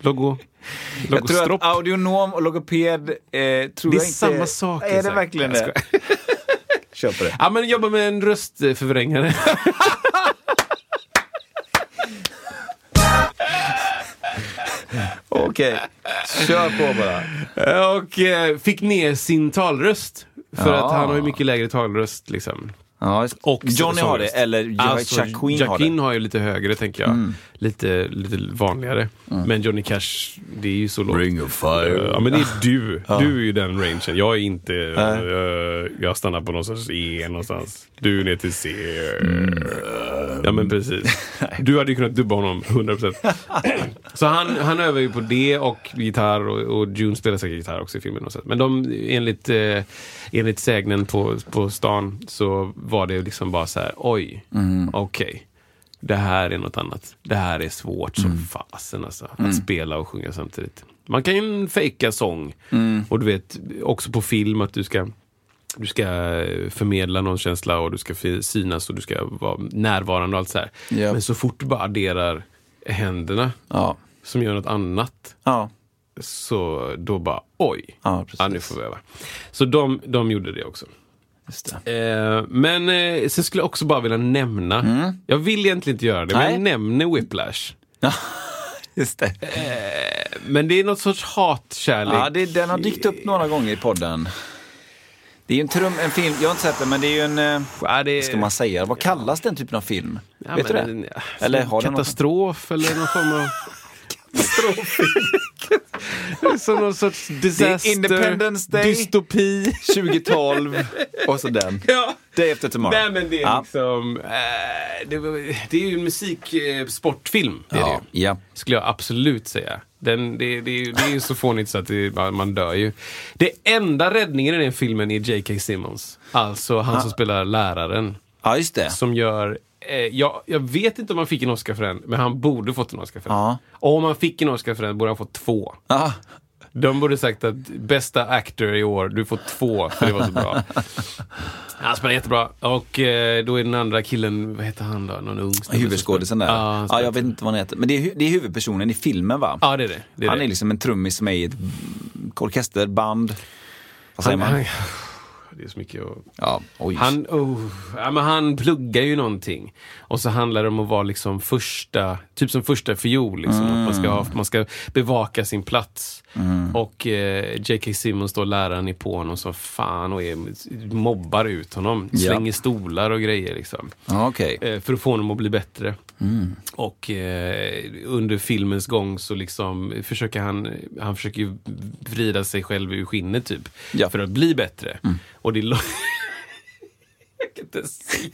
[SPEAKER 2] Logo.
[SPEAKER 1] Jag tror
[SPEAKER 2] Logostropp.
[SPEAKER 1] att audionom och logoped eh, tror jag inte...
[SPEAKER 2] Det är samma sak,
[SPEAKER 1] Är det
[SPEAKER 2] Isak.
[SPEAKER 1] verkligen
[SPEAKER 2] Jag
[SPEAKER 1] det? [LAUGHS] Köper det.
[SPEAKER 2] Ja, men jobba med en röstförvrängare.
[SPEAKER 1] Okej, kör på bara.
[SPEAKER 2] och eh, fick ner sin talröst. För
[SPEAKER 1] Ja.
[SPEAKER 2] att han har ju mycket lägre talröst liksom.
[SPEAKER 1] Ja, just-
[SPEAKER 2] Och
[SPEAKER 1] Johnny har det,
[SPEAKER 2] sångröst.
[SPEAKER 1] eller jo-
[SPEAKER 2] Alltså,
[SPEAKER 1] Jacqueline har det. Mm.
[SPEAKER 2] Jacqueline har ju lite högre, tänker jag. Lite, lite vanligare. Men Johnny Cash det är ju så lågt.
[SPEAKER 1] Ring of fire.
[SPEAKER 2] Ja, men det är
[SPEAKER 1] [LAUGHS]
[SPEAKER 2] du. Du är ju den rangen. Jag är inte... eh, jag stannar på någon sorts E någonstans. Du är ner till C.
[SPEAKER 1] Mm.
[SPEAKER 2] Ja,
[SPEAKER 1] [LAUGHS]
[SPEAKER 2] men precis. Du hade ju kunnat dubba honom 100%. Så han, han övar ju på det och gitarr och, och June spelar säkert gitarr också i filmen. Något sätt. Men de, enligt, eh, enligt sägnen på, på stan så var det liksom bara så här, oj, okej. Det här är något annat. Det här är svårt som fasen alltså. Att spela och sjunga samtidigt. Man kan ju fejka sång. Och du vet, också på film att du ska du ska eh, förmedla någon känsla och du ska fi- synas och du ska vara närvarande och allt så här.
[SPEAKER 1] Ja.
[SPEAKER 2] Men så fort du bara adderar händerna
[SPEAKER 1] Ja.
[SPEAKER 2] som gör något annat,
[SPEAKER 1] Ja.
[SPEAKER 2] så då bara oj,
[SPEAKER 1] Ja, precis.
[SPEAKER 2] nu får vi öva. Så de, de gjorde det också.
[SPEAKER 1] Just det.
[SPEAKER 2] Eh, men eh, sen skulle jag också bara vilja nämna, jag vill egentligen inte göra det, men
[SPEAKER 1] Mm. Nej.
[SPEAKER 2] jag nämner Whiplash.
[SPEAKER 1] Just det.
[SPEAKER 2] Men det är något sorts hatkärlek.
[SPEAKER 1] Ja, det, den har dykt upp några gånger i podden. Det är ju en, trum, en film, jag har inte sett den, men det är ju en... eh,
[SPEAKER 2] Ja, det-
[SPEAKER 1] Vad ska man säga? Vad kallas den typen av film?
[SPEAKER 2] Ja,
[SPEAKER 1] Vet
[SPEAKER 2] men
[SPEAKER 1] du det?
[SPEAKER 2] en-
[SPEAKER 1] Eller har den något?
[SPEAKER 2] katastrof eller någon form av... [LAUGHS] katastrof? Som någon sorts disaster,
[SPEAKER 1] Independence Day.
[SPEAKER 2] dystopi.
[SPEAKER 1] 2012 och så den.
[SPEAKER 2] Ja.
[SPEAKER 1] Day After Tomorrow.
[SPEAKER 2] Nej men det är
[SPEAKER 1] ja.
[SPEAKER 2] liksom, eh, det, var- det är ju en musiksportfilm. Det är
[SPEAKER 1] Ja.
[SPEAKER 2] det ju.
[SPEAKER 1] Ja.
[SPEAKER 2] Skulle jag absolut säga. Den, det, det, är ju- det är ju så fånigt så att det, man man dör ju. Det enda räddningen i den filmen är J.K. Simmons. Alltså han
[SPEAKER 1] Ah.
[SPEAKER 2] som spelar läraren.
[SPEAKER 1] ja, just det.
[SPEAKER 2] Som gör, eh, jag, jag vet inte om han fick en Oscar för den, men han borde fått en Oscar för den.
[SPEAKER 1] Ja.
[SPEAKER 2] Och om han fick en Oscar för den borde han fått två.
[SPEAKER 1] Ja.
[SPEAKER 2] De borde sagt att bästa actor i år, du får två för det var
[SPEAKER 1] [LAUGHS]
[SPEAKER 2] så bra. Han spelar jättebra. Och eh, då är den andra killen, vad heter han då? Någon ung snubbe som
[SPEAKER 1] Huvudskådisen där.
[SPEAKER 2] spelar- Ja,
[SPEAKER 1] Ja,
[SPEAKER 2] han spelar-
[SPEAKER 1] jag vet inte vad han heter. Men det är, hu- det är huvudpersonen i filmen va?
[SPEAKER 2] ja, det är det. det, är
[SPEAKER 1] han
[SPEAKER 2] det.
[SPEAKER 1] är liksom en trummis som är i ett orkesterband. Vad säger
[SPEAKER 2] han,
[SPEAKER 1] man?
[SPEAKER 2] han, det är så mycket att...
[SPEAKER 1] Ja, oj.
[SPEAKER 2] Han, oh, ja, men han pluggar ju någonting. Och så handlar det om att vara liksom första, typ som första fiol. Liksom, att man, ska
[SPEAKER 1] Mm.
[SPEAKER 2] ha, man ska bevaka sin plats. Och eh, J.K. Simmons, då, läraren, är på honom som fan och är, mobbar ut honom.
[SPEAKER 1] Ja.
[SPEAKER 2] Slänger stolar och grejer. Liksom.
[SPEAKER 1] Ja, okej.
[SPEAKER 2] Eh, för att få honom att bli bättre.
[SPEAKER 1] Mm.
[SPEAKER 2] Och eh, under filmens gång så liksom försöker han, han försöker ju vrida sig själv ur skinnet typ.
[SPEAKER 1] Ja. Mm.
[SPEAKER 2] För att bli bättre. Och det är lång... [LAUGHS] Jag kan inte säga.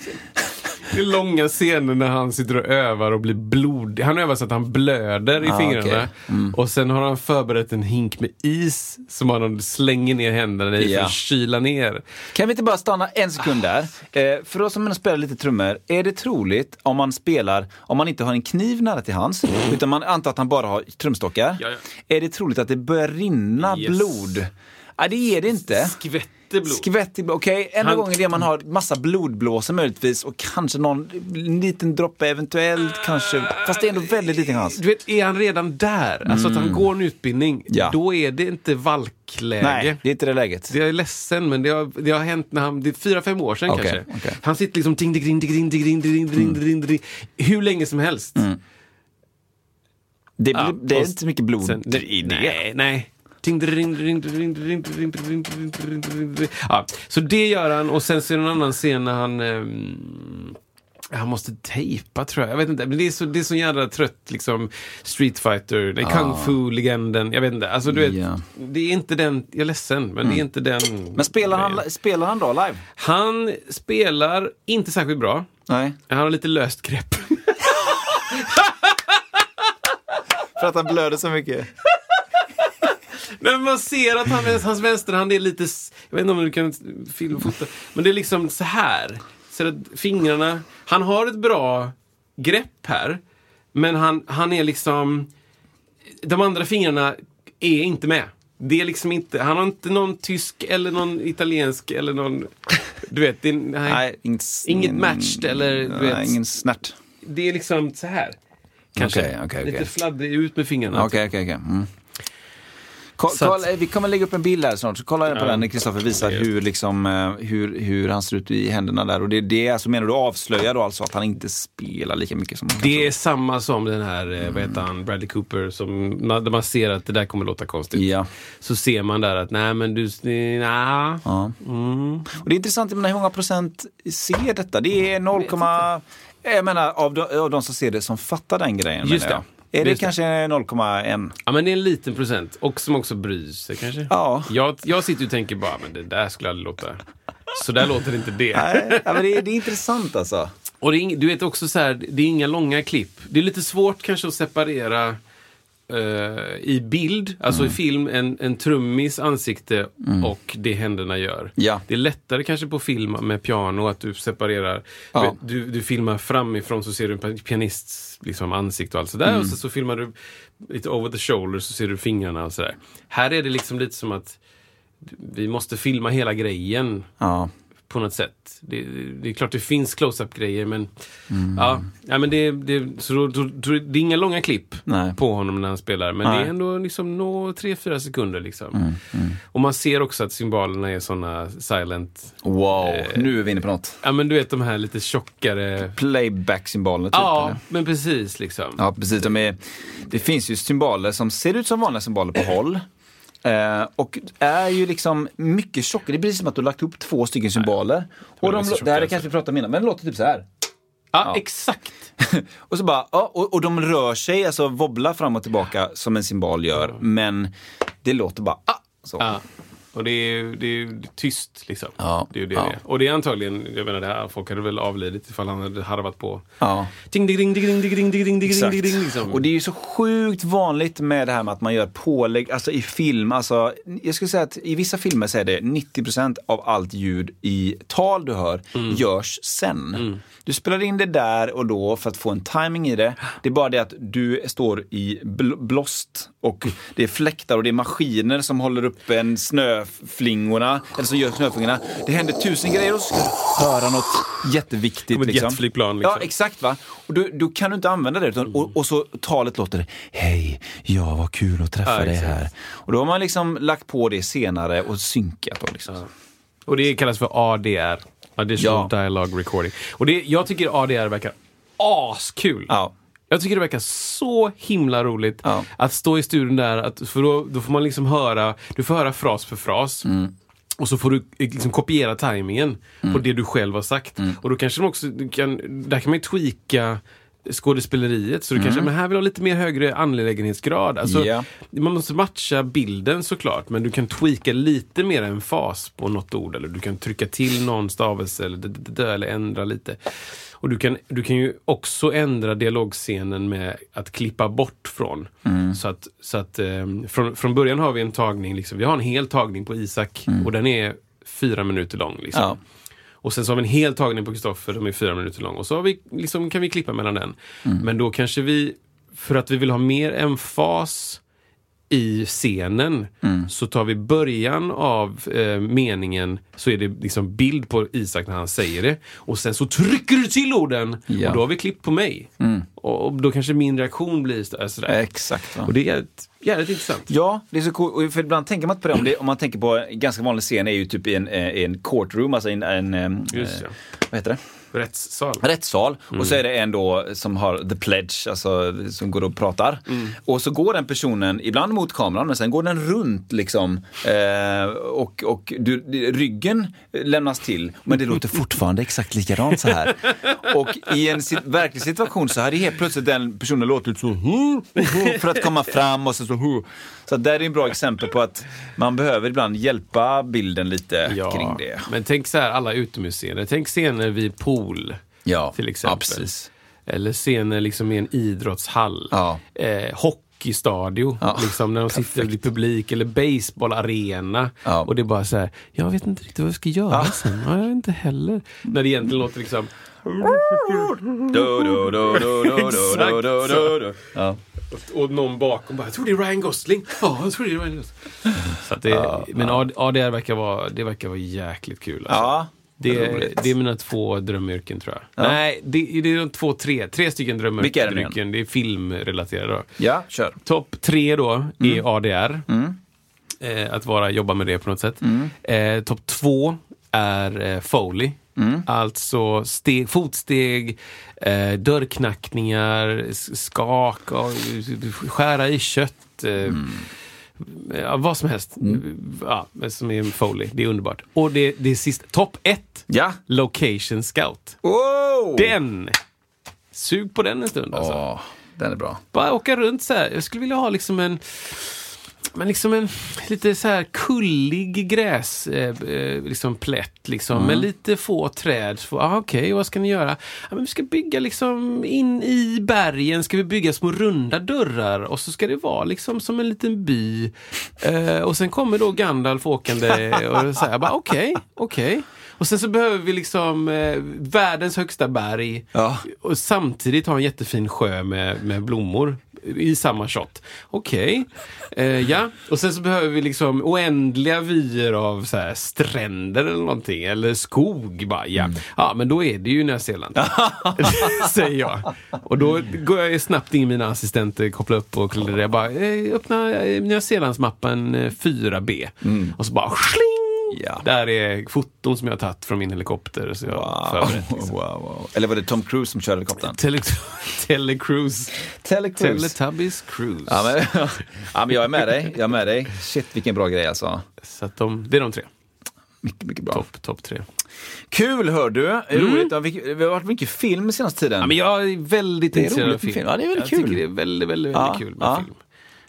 [SPEAKER 2] Det är långa scener när han sitter och övar och blir blodig. Han övar så att han blöder i
[SPEAKER 1] Ah,
[SPEAKER 2] fingrarna.
[SPEAKER 1] okej.
[SPEAKER 2] Och sen har han förberett en hink med is som han slänger ner händerna i för
[SPEAKER 1] Ja.
[SPEAKER 2] att kyla ner.
[SPEAKER 1] Kan vi inte bara stanna en sekund där?
[SPEAKER 2] Ah.
[SPEAKER 1] Eh, för oss som spelar lite trummor, är det troligt om man spelar, om man inte har en kniv nära till hands, utan man antar att han bara har trumstockar,
[SPEAKER 2] Mm. Ja,
[SPEAKER 1] är det troligt att det börjar rinna
[SPEAKER 2] Yes.
[SPEAKER 1] blod? Nej, det är det inte.
[SPEAKER 2] Skvätter blod.
[SPEAKER 1] Skvätt i blod. Okej, enda
[SPEAKER 2] Han-
[SPEAKER 1] gången det man har massa blodblåsor möjligtvis och kanske någon liten droppe eventuellt kanske. Fast det är ändå väldigt liten chans.
[SPEAKER 2] Ah. Du vet, är han redan där, alltså att han går en utbildning,
[SPEAKER 1] Mm. Ja.
[SPEAKER 2] då är det inte valkläge.
[SPEAKER 1] Nej, det är inte det läget.
[SPEAKER 2] Jag är ledsen, men det har, det har hänt när han, det är fyra, fem år sedan
[SPEAKER 1] Okej,
[SPEAKER 2] kanske.
[SPEAKER 1] okej.
[SPEAKER 2] Han sitter liksom ding, ding, ding, ding, ding, ding, ding, ding, ding, ding, hur länge som
[SPEAKER 1] Mm.
[SPEAKER 2] helst.
[SPEAKER 1] Det,
[SPEAKER 2] Ja,
[SPEAKER 1] blir- det är
[SPEAKER 2] och
[SPEAKER 1] inte mycket blod
[SPEAKER 2] Sen,
[SPEAKER 1] i det.
[SPEAKER 2] Nej, nej. Ting, dring, dring, dring, dring, dring, dring, dring, dring, dring, dring. Ja, så det gör han och sen så är det en annan scen när han ehm, han måste tejpa tror jag. Jag vet inte. Men det är så, det är så jävla trött liksom. Street Fighter, nej, Kung Fu-legenden. Jag vet inte. Alltså du vet.
[SPEAKER 1] Ja. Mm.
[SPEAKER 2] Det är inte den, jag är ledsen, men det är inte den.
[SPEAKER 1] Men spelar han, spelar han då live?
[SPEAKER 2] Han spelar inte särskilt bra.
[SPEAKER 1] Nej.
[SPEAKER 2] Han har lite löst grepp.
[SPEAKER 1] För att han blöder så mycket?
[SPEAKER 2] Men man ser att han, hans vänsterhand är lite... s- Jag vet inte om du kan filmfota. Men det är liksom så här. Så att fingrarna... Han har ett bra grepp här. Men han, han är liksom... De andra fingrarna är inte med. Det är liksom inte... Han har inte någon tysk eller någon italiensk eller någon... Du vet, det är, nej.
[SPEAKER 1] Nej, inget,
[SPEAKER 2] Inget matched eller, du
[SPEAKER 1] nej,
[SPEAKER 2] vet.
[SPEAKER 1] ingen snärt.
[SPEAKER 2] Det är liksom så här. Kanske.
[SPEAKER 1] Okej, okej, okej.
[SPEAKER 2] Lite fladdrig ut med fingrarna.
[SPEAKER 1] Okej, okej, okej. Mm. Ko-
[SPEAKER 2] Så att-
[SPEAKER 1] kolla- eh, Vi kommer lägga upp en bild här snart, så kolla på den när Kristoffer visar hur, liksom, eh, hur, hur han ser ut i händerna där. Och det, det är alltså, menar du avslöjar då alltså att han inte spelar lika mycket som han kan
[SPEAKER 2] Det är samma som den här, mm. vad heter han, Bradley Cooper, som, när när man ser att det där kommer låta konstigt.
[SPEAKER 1] Ja.
[SPEAKER 2] Så ser man där att, nej men du, nej.
[SPEAKER 1] Ja. Och det är intressant, jag menar, hur många procent ser detta? Det är 0, jag menar av de, av de som ser det som fattar den grejen.
[SPEAKER 2] Just
[SPEAKER 1] menar jag.
[SPEAKER 2] det.
[SPEAKER 1] Är det
[SPEAKER 2] Just det.
[SPEAKER 1] kanske 0,1?
[SPEAKER 2] Ja, men det är en liten procent. Och som också bryr sig kanske.
[SPEAKER 1] Ja.
[SPEAKER 2] Jag, jag sitter ju och tänker bara, men det där skulle jag aldrig låta. Så där låter inte det.
[SPEAKER 1] Nej, ja, men det, är, det är intressant alltså.
[SPEAKER 2] Och det är, ing- du vet också så här, det är inga långa klipp. Det är lite svårt kanske att separera eh, i bild, alltså
[SPEAKER 1] Mm.
[SPEAKER 2] i film, en, en trummis ansikte och det händerna gör.
[SPEAKER 1] Ja.
[SPEAKER 2] Det är lättare kanske på film med piano att du separerar.
[SPEAKER 1] Ja.
[SPEAKER 2] Vet, Du, du filmar framifrån så ser du en pi- pianists liksom, ansikte och allt sådär.
[SPEAKER 1] Mm.
[SPEAKER 2] Och så, så filmar du lite over the shoulder så ser du fingrarna och sådär. Här är det liksom lite som att vi måste filma hela grejen
[SPEAKER 1] Ja.
[SPEAKER 2] på något sätt. Det, det är klart det finns close-up-grejer men...
[SPEAKER 1] Mm.
[SPEAKER 2] Ja, ja, men det, det, så då, då, då, det är inga långa klipp
[SPEAKER 1] Nej.
[SPEAKER 2] på honom när han spelar. Men det
[SPEAKER 1] Nej. Mm,
[SPEAKER 2] är ändå liksom nå 3-4 sekunder liksom. Och man ser också att symbolerna är såna silent...
[SPEAKER 1] Wow,
[SPEAKER 2] Eh.
[SPEAKER 1] nu är vi inne på något.
[SPEAKER 2] Ja men du vet de här lite tjockare...
[SPEAKER 1] Playback-symbolerna typ?
[SPEAKER 2] Ja,
[SPEAKER 1] eller?
[SPEAKER 2] men precis liksom.
[SPEAKER 1] Ja, precis. De är, det finns ju symboler som ser ut som vanliga symboler på håll. Eh, och är ju liksom mycket tjockare. Det är precis som att du har lagt ihop två stycken symboler. Och
[SPEAKER 2] de
[SPEAKER 1] de,
[SPEAKER 2] är så
[SPEAKER 1] det här
[SPEAKER 2] tjocka, alltså.
[SPEAKER 1] kanske vi pratade om innan, men det låter typ så här. [LAUGHS]
[SPEAKER 2] Ja, exakt.
[SPEAKER 1] Och, så bara, ja, och, och de rör sig, alltså wobblar fram och tillbaka som en symbol gör. Men det låter bara ah, så.
[SPEAKER 2] Ja. Och det är, ju- det är ju tyst liksom.
[SPEAKER 1] Ja,
[SPEAKER 2] Det är ju det
[SPEAKER 1] ja.
[SPEAKER 2] det är. Och det är antagligen, jag menar det här, folk hade väl avlidit ifall han hade harvat på.
[SPEAKER 1] Ja.
[SPEAKER 2] Ding, ding, ding, ding, ding, ding, ding, ding, ding, ding,
[SPEAKER 1] Exakt.
[SPEAKER 2] ding, liksom.
[SPEAKER 1] Och det är ju så sjukt vanligt med det här med att man gör pålägg, alltså i film. Alltså, jag skulle säga att i vissa filmer så är det 90% av allt ljud i tal du hör
[SPEAKER 2] Mm.
[SPEAKER 1] görs sen. Du spelar in det där och då för att få en timing i det. Det är bara det att du står i bl- blåst och det är fläktar och det är maskiner som håller upp en snöflingorna, eller som gör snöflingorna. Det händer tusen grejer och så ska du höra något jätteviktigt.
[SPEAKER 2] Som ett jetflygplan, liksom.
[SPEAKER 1] Ja, Exakt va? Och då, då kan du inte använda det. Utan, och, och så talet låter Hej, ja vad kul att träffa
[SPEAKER 2] Ja,
[SPEAKER 1] dig
[SPEAKER 2] exakt.
[SPEAKER 1] här. Och då har man liksom lagt på det senare och synkat då liksom.
[SPEAKER 2] Och det kallas för ADR. Additional
[SPEAKER 1] Ja.
[SPEAKER 2] Dialogue Recording. Och det, jag tycker ADR verkar askul.
[SPEAKER 1] Ja.
[SPEAKER 2] Jag tycker det verkar så himla roligt
[SPEAKER 1] Ja.
[SPEAKER 2] att stå i studion där, att, för då, då får man liksom höra, du får höra fras för fras.
[SPEAKER 1] Mm.
[SPEAKER 2] Och så får du eh, liksom kopiera tajmingen på det du själv har sagt.
[SPEAKER 1] Mm.
[SPEAKER 2] Och då kanske de också du kan, där kan man ju tweaka skådespeleriet. Så du kanske,
[SPEAKER 1] Mm.
[SPEAKER 2] men här vill jag ha lite mer högre angelägenhetsgrad. Alltså,
[SPEAKER 1] Ja.
[SPEAKER 2] Man måste matcha bilden såklart, men du kan tweaka lite mer en fas på något ord. Eller du kan trycka till någon stavelse eller, d- d- d- eller ändra lite. Och du kan, du kan ju också ändra dialogscenen med att klippa bort från.
[SPEAKER 1] Mm.
[SPEAKER 2] Så att, så att ehm, från, från början har vi en tagning, liksom, vi har en hel tagning på Isak och den är fyra minuter lång. Liksom.
[SPEAKER 1] Mm. Ja.
[SPEAKER 2] Och sen så har vi en hel tagning på Kristoffer som är fyra minuter lång. Och så har vi, liksom, kan vi klippa mellan den.
[SPEAKER 1] Mm.
[SPEAKER 2] Men då kanske vi, för att vi vill ha mer en fas i scenen
[SPEAKER 1] Mm.
[SPEAKER 2] så tar vi början av eh, meningen så är det liksom bild på Isak när han säger det. Och sen så trycker du till orden
[SPEAKER 1] Ja. Mm.
[SPEAKER 2] och då har vi klippt på mig. Och, och då kanske min reaktion blir så- sådär.
[SPEAKER 1] Exakt. Va?
[SPEAKER 2] Och det är jävligt, jävligt intressant.
[SPEAKER 1] Ja, det är så coolt. Och För ibland tänker man inte på det. Om, det, om man tänker på en ganska vanlig scen är ju typ i en, eh, i en courtroom, alltså i en, en eh,
[SPEAKER 2] Just det.
[SPEAKER 1] vad heter det?
[SPEAKER 2] Rättssal.
[SPEAKER 1] rättssal och så är det en då som har the pledge, alltså som går och pratar. Och så går den personen, ibland mot kameran, men sen går den runt liksom. Eh, och och du, ryggen lämnas till, men det låter fortfarande exakt likadant så här. Och i en sit- verklig situation så hade helt plötsligt den personen låtit så här för att komma fram och så så här. Så att där är en bra exempel på att man behöver ibland hjälpa bilden lite kring det.
[SPEAKER 2] Men tänk så här, alla utomhusscener. Tänk scener vid pool.
[SPEAKER 1] Ja,
[SPEAKER 2] till exempel.
[SPEAKER 1] ja, precis.
[SPEAKER 2] Eller scener liksom i en idrottshall.
[SPEAKER 1] Ja.
[SPEAKER 2] Eh, hockeystadio,
[SPEAKER 1] Ja,
[SPEAKER 2] liksom, när de sitter i publik. Eller baseballarena.
[SPEAKER 1] Ja.
[SPEAKER 2] Och det är bara så här, jag vet inte riktigt vad jag ska göra sen. Ja, jag vet inte heller. När det egentligen låter liksom...
[SPEAKER 1] Do, do, do, do, do, do, do, do, do. Ja.
[SPEAKER 2] Och någon bakom bara, jag tror det är Ryan Gosling. Ja, jag tror det är Ryan Gosling. [LAUGHS] Så att det, men ADR verkar vara, det verkar vara jäkligt kul. Alltså.
[SPEAKER 1] Ja,
[SPEAKER 2] Det,
[SPEAKER 1] roligt.
[SPEAKER 2] det är mina två drömyrken tror jag. Nej, det, det är de två, tre. Tre stycken drömyrken.
[SPEAKER 1] Vilka är det nu igen?
[SPEAKER 2] Det är filmrelaterade. då.
[SPEAKER 1] Ja, kör.
[SPEAKER 2] Topp tre då är ADR. Eh, att vara, jobba med det på något sätt. Eh, Topp två är eh, Foley. Alltså steg, fotsteg, eh, dörrknackningar, s- skak, och, skära i kött. Eh, ja, vad som helst. Ja, som är Foley. Det är underbart. Och det, det är sist, topp ett.
[SPEAKER 1] Ja.
[SPEAKER 2] Location Scout.
[SPEAKER 1] Wow!
[SPEAKER 2] Den! Sug på den en stund alltså.
[SPEAKER 1] Den är bra.
[SPEAKER 2] Bara åka runt så här. Jag skulle vilja ha liksom en... Men liksom en lite så här kullig gräs, eh, eh, liksom plätt liksom, med lite få träd. Så, Ah, Okej, vad ska ni göra? Ja, men vi ska bygga liksom in i bergen, ska vi bygga små runda dörrar och så ska det vara liksom som en liten by. Eh, och sen kommer då Gandalf åkande och säger bara okej, okej. Och sen så behöver vi liksom eh, världens högsta berg
[SPEAKER 1] Ja.
[SPEAKER 2] och samtidigt ha en jättefin sjö med, med blommor i samma shot. Okej. Eh, ja, och sen så behöver vi liksom oändliga vyer av så här stränder eller någonting, eller skog bara. Ja, ja men då är det ju Nya Zeeland. [LAUGHS] Säger jag. Och då går jag ju snabbt in i mina assistenter, kopplar upp och kollar. Jag bara, eh, öppna eh, Nya Zeelandsmappen eh, 4B. Och så bara, sling!
[SPEAKER 1] Ja.
[SPEAKER 2] Där är foton som jag har tagit från min helikopter. Så jag har förberett.
[SPEAKER 1] Wow, wow, wow. Eller var det Tom Cruise som körde helikoptern?
[SPEAKER 2] Tele, [LAUGHS] telecruise.
[SPEAKER 1] Telecruise.
[SPEAKER 2] Teletubbies cruise.
[SPEAKER 1] Ja men, [LAUGHS] ja, men jag är med dig. Jag är med dig. Shit, vilken bra grej alltså.
[SPEAKER 2] Så att de, det är de tre.
[SPEAKER 1] Mycket, mycket bra.
[SPEAKER 2] Topp top tre.
[SPEAKER 1] Kul, hör du. Roligt. Ja, vi, vi har varit mycket film senaste tiden.
[SPEAKER 2] Ja, men jag är väldigt
[SPEAKER 1] Det är
[SPEAKER 2] intresserad
[SPEAKER 1] roligt
[SPEAKER 2] av
[SPEAKER 1] med
[SPEAKER 2] film.
[SPEAKER 1] film. Ja, det är väldigt
[SPEAKER 2] jag
[SPEAKER 1] kul.
[SPEAKER 2] tycker det är väldigt, väldigt, väldigt
[SPEAKER 1] Ja,
[SPEAKER 2] kul med
[SPEAKER 1] ja.
[SPEAKER 2] film.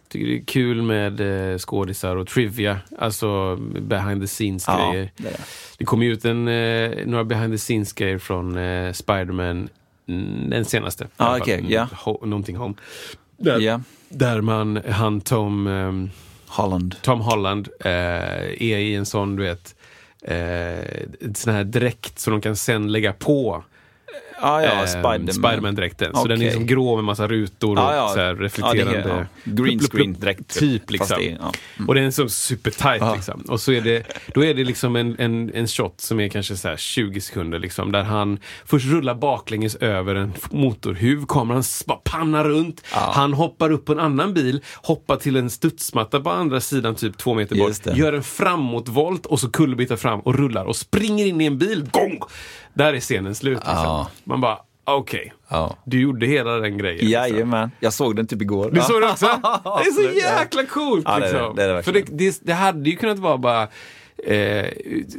[SPEAKER 2] Jag tycker det är kul med eh, skådisar och trivia, alltså behind the
[SPEAKER 1] Ja,
[SPEAKER 2] scenes-grejer.
[SPEAKER 1] det är det.
[SPEAKER 2] det kom ju ut en, eh, några behind the scenes-grejer från eh, Spider-Man, mm, den senaste. i
[SPEAKER 1] Ja,
[SPEAKER 2] alla fall.
[SPEAKER 1] okej,
[SPEAKER 2] Mm,
[SPEAKER 1] ja.
[SPEAKER 2] Ho- någonting home. Där,
[SPEAKER 1] Ja.
[SPEAKER 2] där man, han Tom... ehm,
[SPEAKER 1] Holland.
[SPEAKER 2] Tom Holland eh, är i en sån, du vet, eh, en sån här dräkt som de kan sen lägga på
[SPEAKER 1] Ah, ja,
[SPEAKER 2] eh,
[SPEAKER 1] Spiderman. eh.
[SPEAKER 2] Spider-Man-dräkten. Så den är
[SPEAKER 1] Okej.
[SPEAKER 2] liksom grå med massa rutor och
[SPEAKER 1] Ja, ja.
[SPEAKER 2] så här reflekterande...
[SPEAKER 1] Ja, det är- ja. Green
[SPEAKER 2] Plupp, plupp,
[SPEAKER 1] screen direkt, typ.
[SPEAKER 2] Typ
[SPEAKER 1] Fast
[SPEAKER 2] liksom.
[SPEAKER 1] det är- ja. Mm.
[SPEAKER 2] Och den är så supertight liksom. Och så är det, då är det liksom en, en, en shot som är kanske så här 20 sekunder liksom. Där han först rullar baklänges över en f- motorhuv, kameran s- bara pannar runt. Han hoppar upp på en annan bil, hoppar till en studsmatta på andra sidan typ två meter
[SPEAKER 1] Just
[SPEAKER 2] bort.
[SPEAKER 1] det.
[SPEAKER 2] Gör en framåtvolt och så kullerbyter fram och rullar och springer in i en bil. Gong! Där är scenen slut. Liksom.
[SPEAKER 1] Ja.
[SPEAKER 2] Man bara, okej.
[SPEAKER 1] Ja.
[SPEAKER 2] Du gjorde hela den grejen. liksom.
[SPEAKER 1] Jajamän. Jag såg den typ igår.
[SPEAKER 2] Du såg det
[SPEAKER 1] [LAUGHS]
[SPEAKER 2] också? Det är
[SPEAKER 1] Absolut,
[SPEAKER 2] så
[SPEAKER 1] ja.
[SPEAKER 2] jäkla coolt!
[SPEAKER 1] Ja, det är det.
[SPEAKER 2] liksom.
[SPEAKER 1] Det är det
[SPEAKER 2] för det,
[SPEAKER 1] verkligen.
[SPEAKER 2] det, det hade ju kunnat vara bara eh,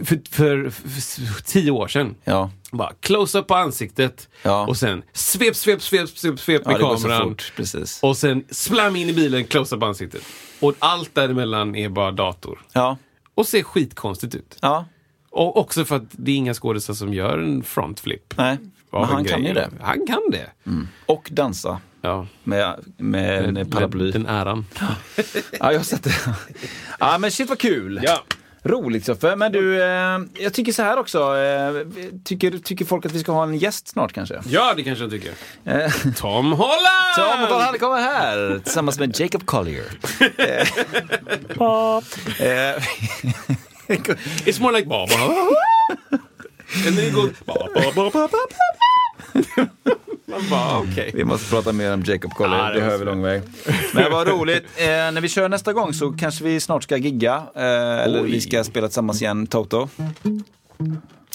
[SPEAKER 2] för, för, för tio år sedan.
[SPEAKER 1] Ja.
[SPEAKER 2] Bara close up på ansiktet
[SPEAKER 1] Ja.
[SPEAKER 2] och sen svep, svep, svep, svep, svep
[SPEAKER 1] Ja,
[SPEAKER 2] med
[SPEAKER 1] det går så
[SPEAKER 2] kameran.
[SPEAKER 1] fort, precis.
[SPEAKER 2] Och sen slam in i bilen, close up på ansiktet. Och allt däremellan är bara dator.
[SPEAKER 1] Ja.
[SPEAKER 2] Och ser skitkonstigt ut.
[SPEAKER 1] Ja.
[SPEAKER 2] Och också för att det är inga skådisar som gör en frontflip.
[SPEAKER 1] Nej.
[SPEAKER 2] av
[SPEAKER 1] Men
[SPEAKER 2] en
[SPEAKER 1] han kan
[SPEAKER 2] grej.
[SPEAKER 1] ju det.
[SPEAKER 2] Han kan det.
[SPEAKER 1] Och dansa.
[SPEAKER 2] Ja.
[SPEAKER 1] Med, med en paraply. [LAUGHS]
[SPEAKER 2] Den äran.
[SPEAKER 1] Ja, jag har sett det. [LAUGHS] Ja, men shit vad kul!
[SPEAKER 2] Ja.
[SPEAKER 1] Roligt Soffe, men du, eh, jag tycker så här också. Eh, tycker, tycker folk att vi ska ha en gäst snart kanske?
[SPEAKER 2] Ja, det kanske jag tycker.
[SPEAKER 1] Eh,
[SPEAKER 2] Tom Holland!
[SPEAKER 1] Tom Holland kommer här tillsammans med Jacob [LAUGHS] Collier. Eh, eh,
[SPEAKER 2] It's more
[SPEAKER 1] [LAUGHS]
[SPEAKER 2] like ba ba And then it goes ba ba ba ba ba Man bara, okej.
[SPEAKER 1] vi måste prata mer om Jacob Collier,
[SPEAKER 2] Ja, det
[SPEAKER 1] det hör vi
[SPEAKER 2] måste vi.
[SPEAKER 1] lång väg. Men vad [LAUGHS] roligt. Eh, när vi kör nästa gång så kanske vi snart ska gigga. Eh, eller vi ska spela tillsammans igen, Toto.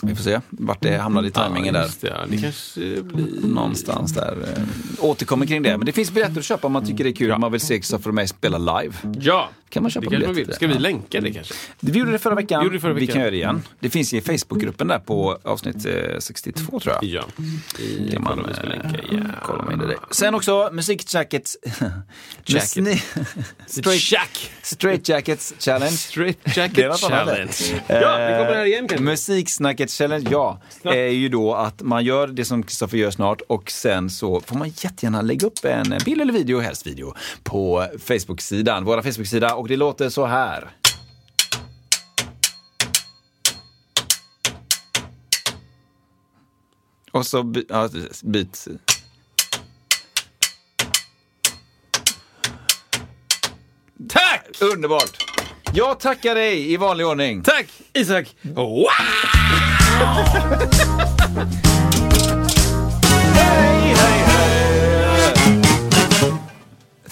[SPEAKER 1] Vi får se vart det hamnar i tajmingen där. Mm.
[SPEAKER 2] Just det, ja. Det kanske blir...
[SPEAKER 1] Någonstans där. eh, Återkommer kring det. Men det finns biljetter att köpa om man tycker det är kul. Om man vill se Kristoffer och mig spela live.
[SPEAKER 2] Ja,
[SPEAKER 1] Kan man köpa
[SPEAKER 2] det kanske
[SPEAKER 1] biljetter
[SPEAKER 2] man vill.
[SPEAKER 1] till det?
[SPEAKER 2] Ska vi
[SPEAKER 1] Ja.
[SPEAKER 2] länka det kanske?
[SPEAKER 1] Vi gjorde det förra veckan.
[SPEAKER 2] Gjorde det förra
[SPEAKER 1] Vi
[SPEAKER 2] veckan.
[SPEAKER 1] kan göra det igen. Det finns i Facebookgruppen där på avsnitt eh, 62 tror jag.
[SPEAKER 2] Ja.
[SPEAKER 1] Mm.
[SPEAKER 2] I,
[SPEAKER 1] Kan
[SPEAKER 2] man,
[SPEAKER 1] man
[SPEAKER 2] vi ska
[SPEAKER 1] eh,
[SPEAKER 2] länka. Ja.
[SPEAKER 1] kolla man in i det. Sen också musikjackets... [LAUGHS]
[SPEAKER 2] Jacket.
[SPEAKER 1] straight,
[SPEAKER 2] Check!
[SPEAKER 1] straight jackets challenge.
[SPEAKER 2] Straight
[SPEAKER 1] Det var
[SPEAKER 2] Jacket
[SPEAKER 1] något annat.
[SPEAKER 2] Challenge. Ja, vi kommer här igen
[SPEAKER 1] Eh,
[SPEAKER 2] kanske.
[SPEAKER 1] Musiksnacket challenge, ja. är ju då att man gör det som Kristoffer gör snart och sen så får man jättegärna lägga upp en bild eller video, helst video, på Facebook-sidan, våra Facebook-sida och det låter så här. Och så by- ja, byt...
[SPEAKER 2] Tack!
[SPEAKER 1] Underbart! Jag tackar dig i vanlig ordning.
[SPEAKER 2] Tack, Isak!
[SPEAKER 1] Mm.
[SPEAKER 2] Wow!
[SPEAKER 1] Jag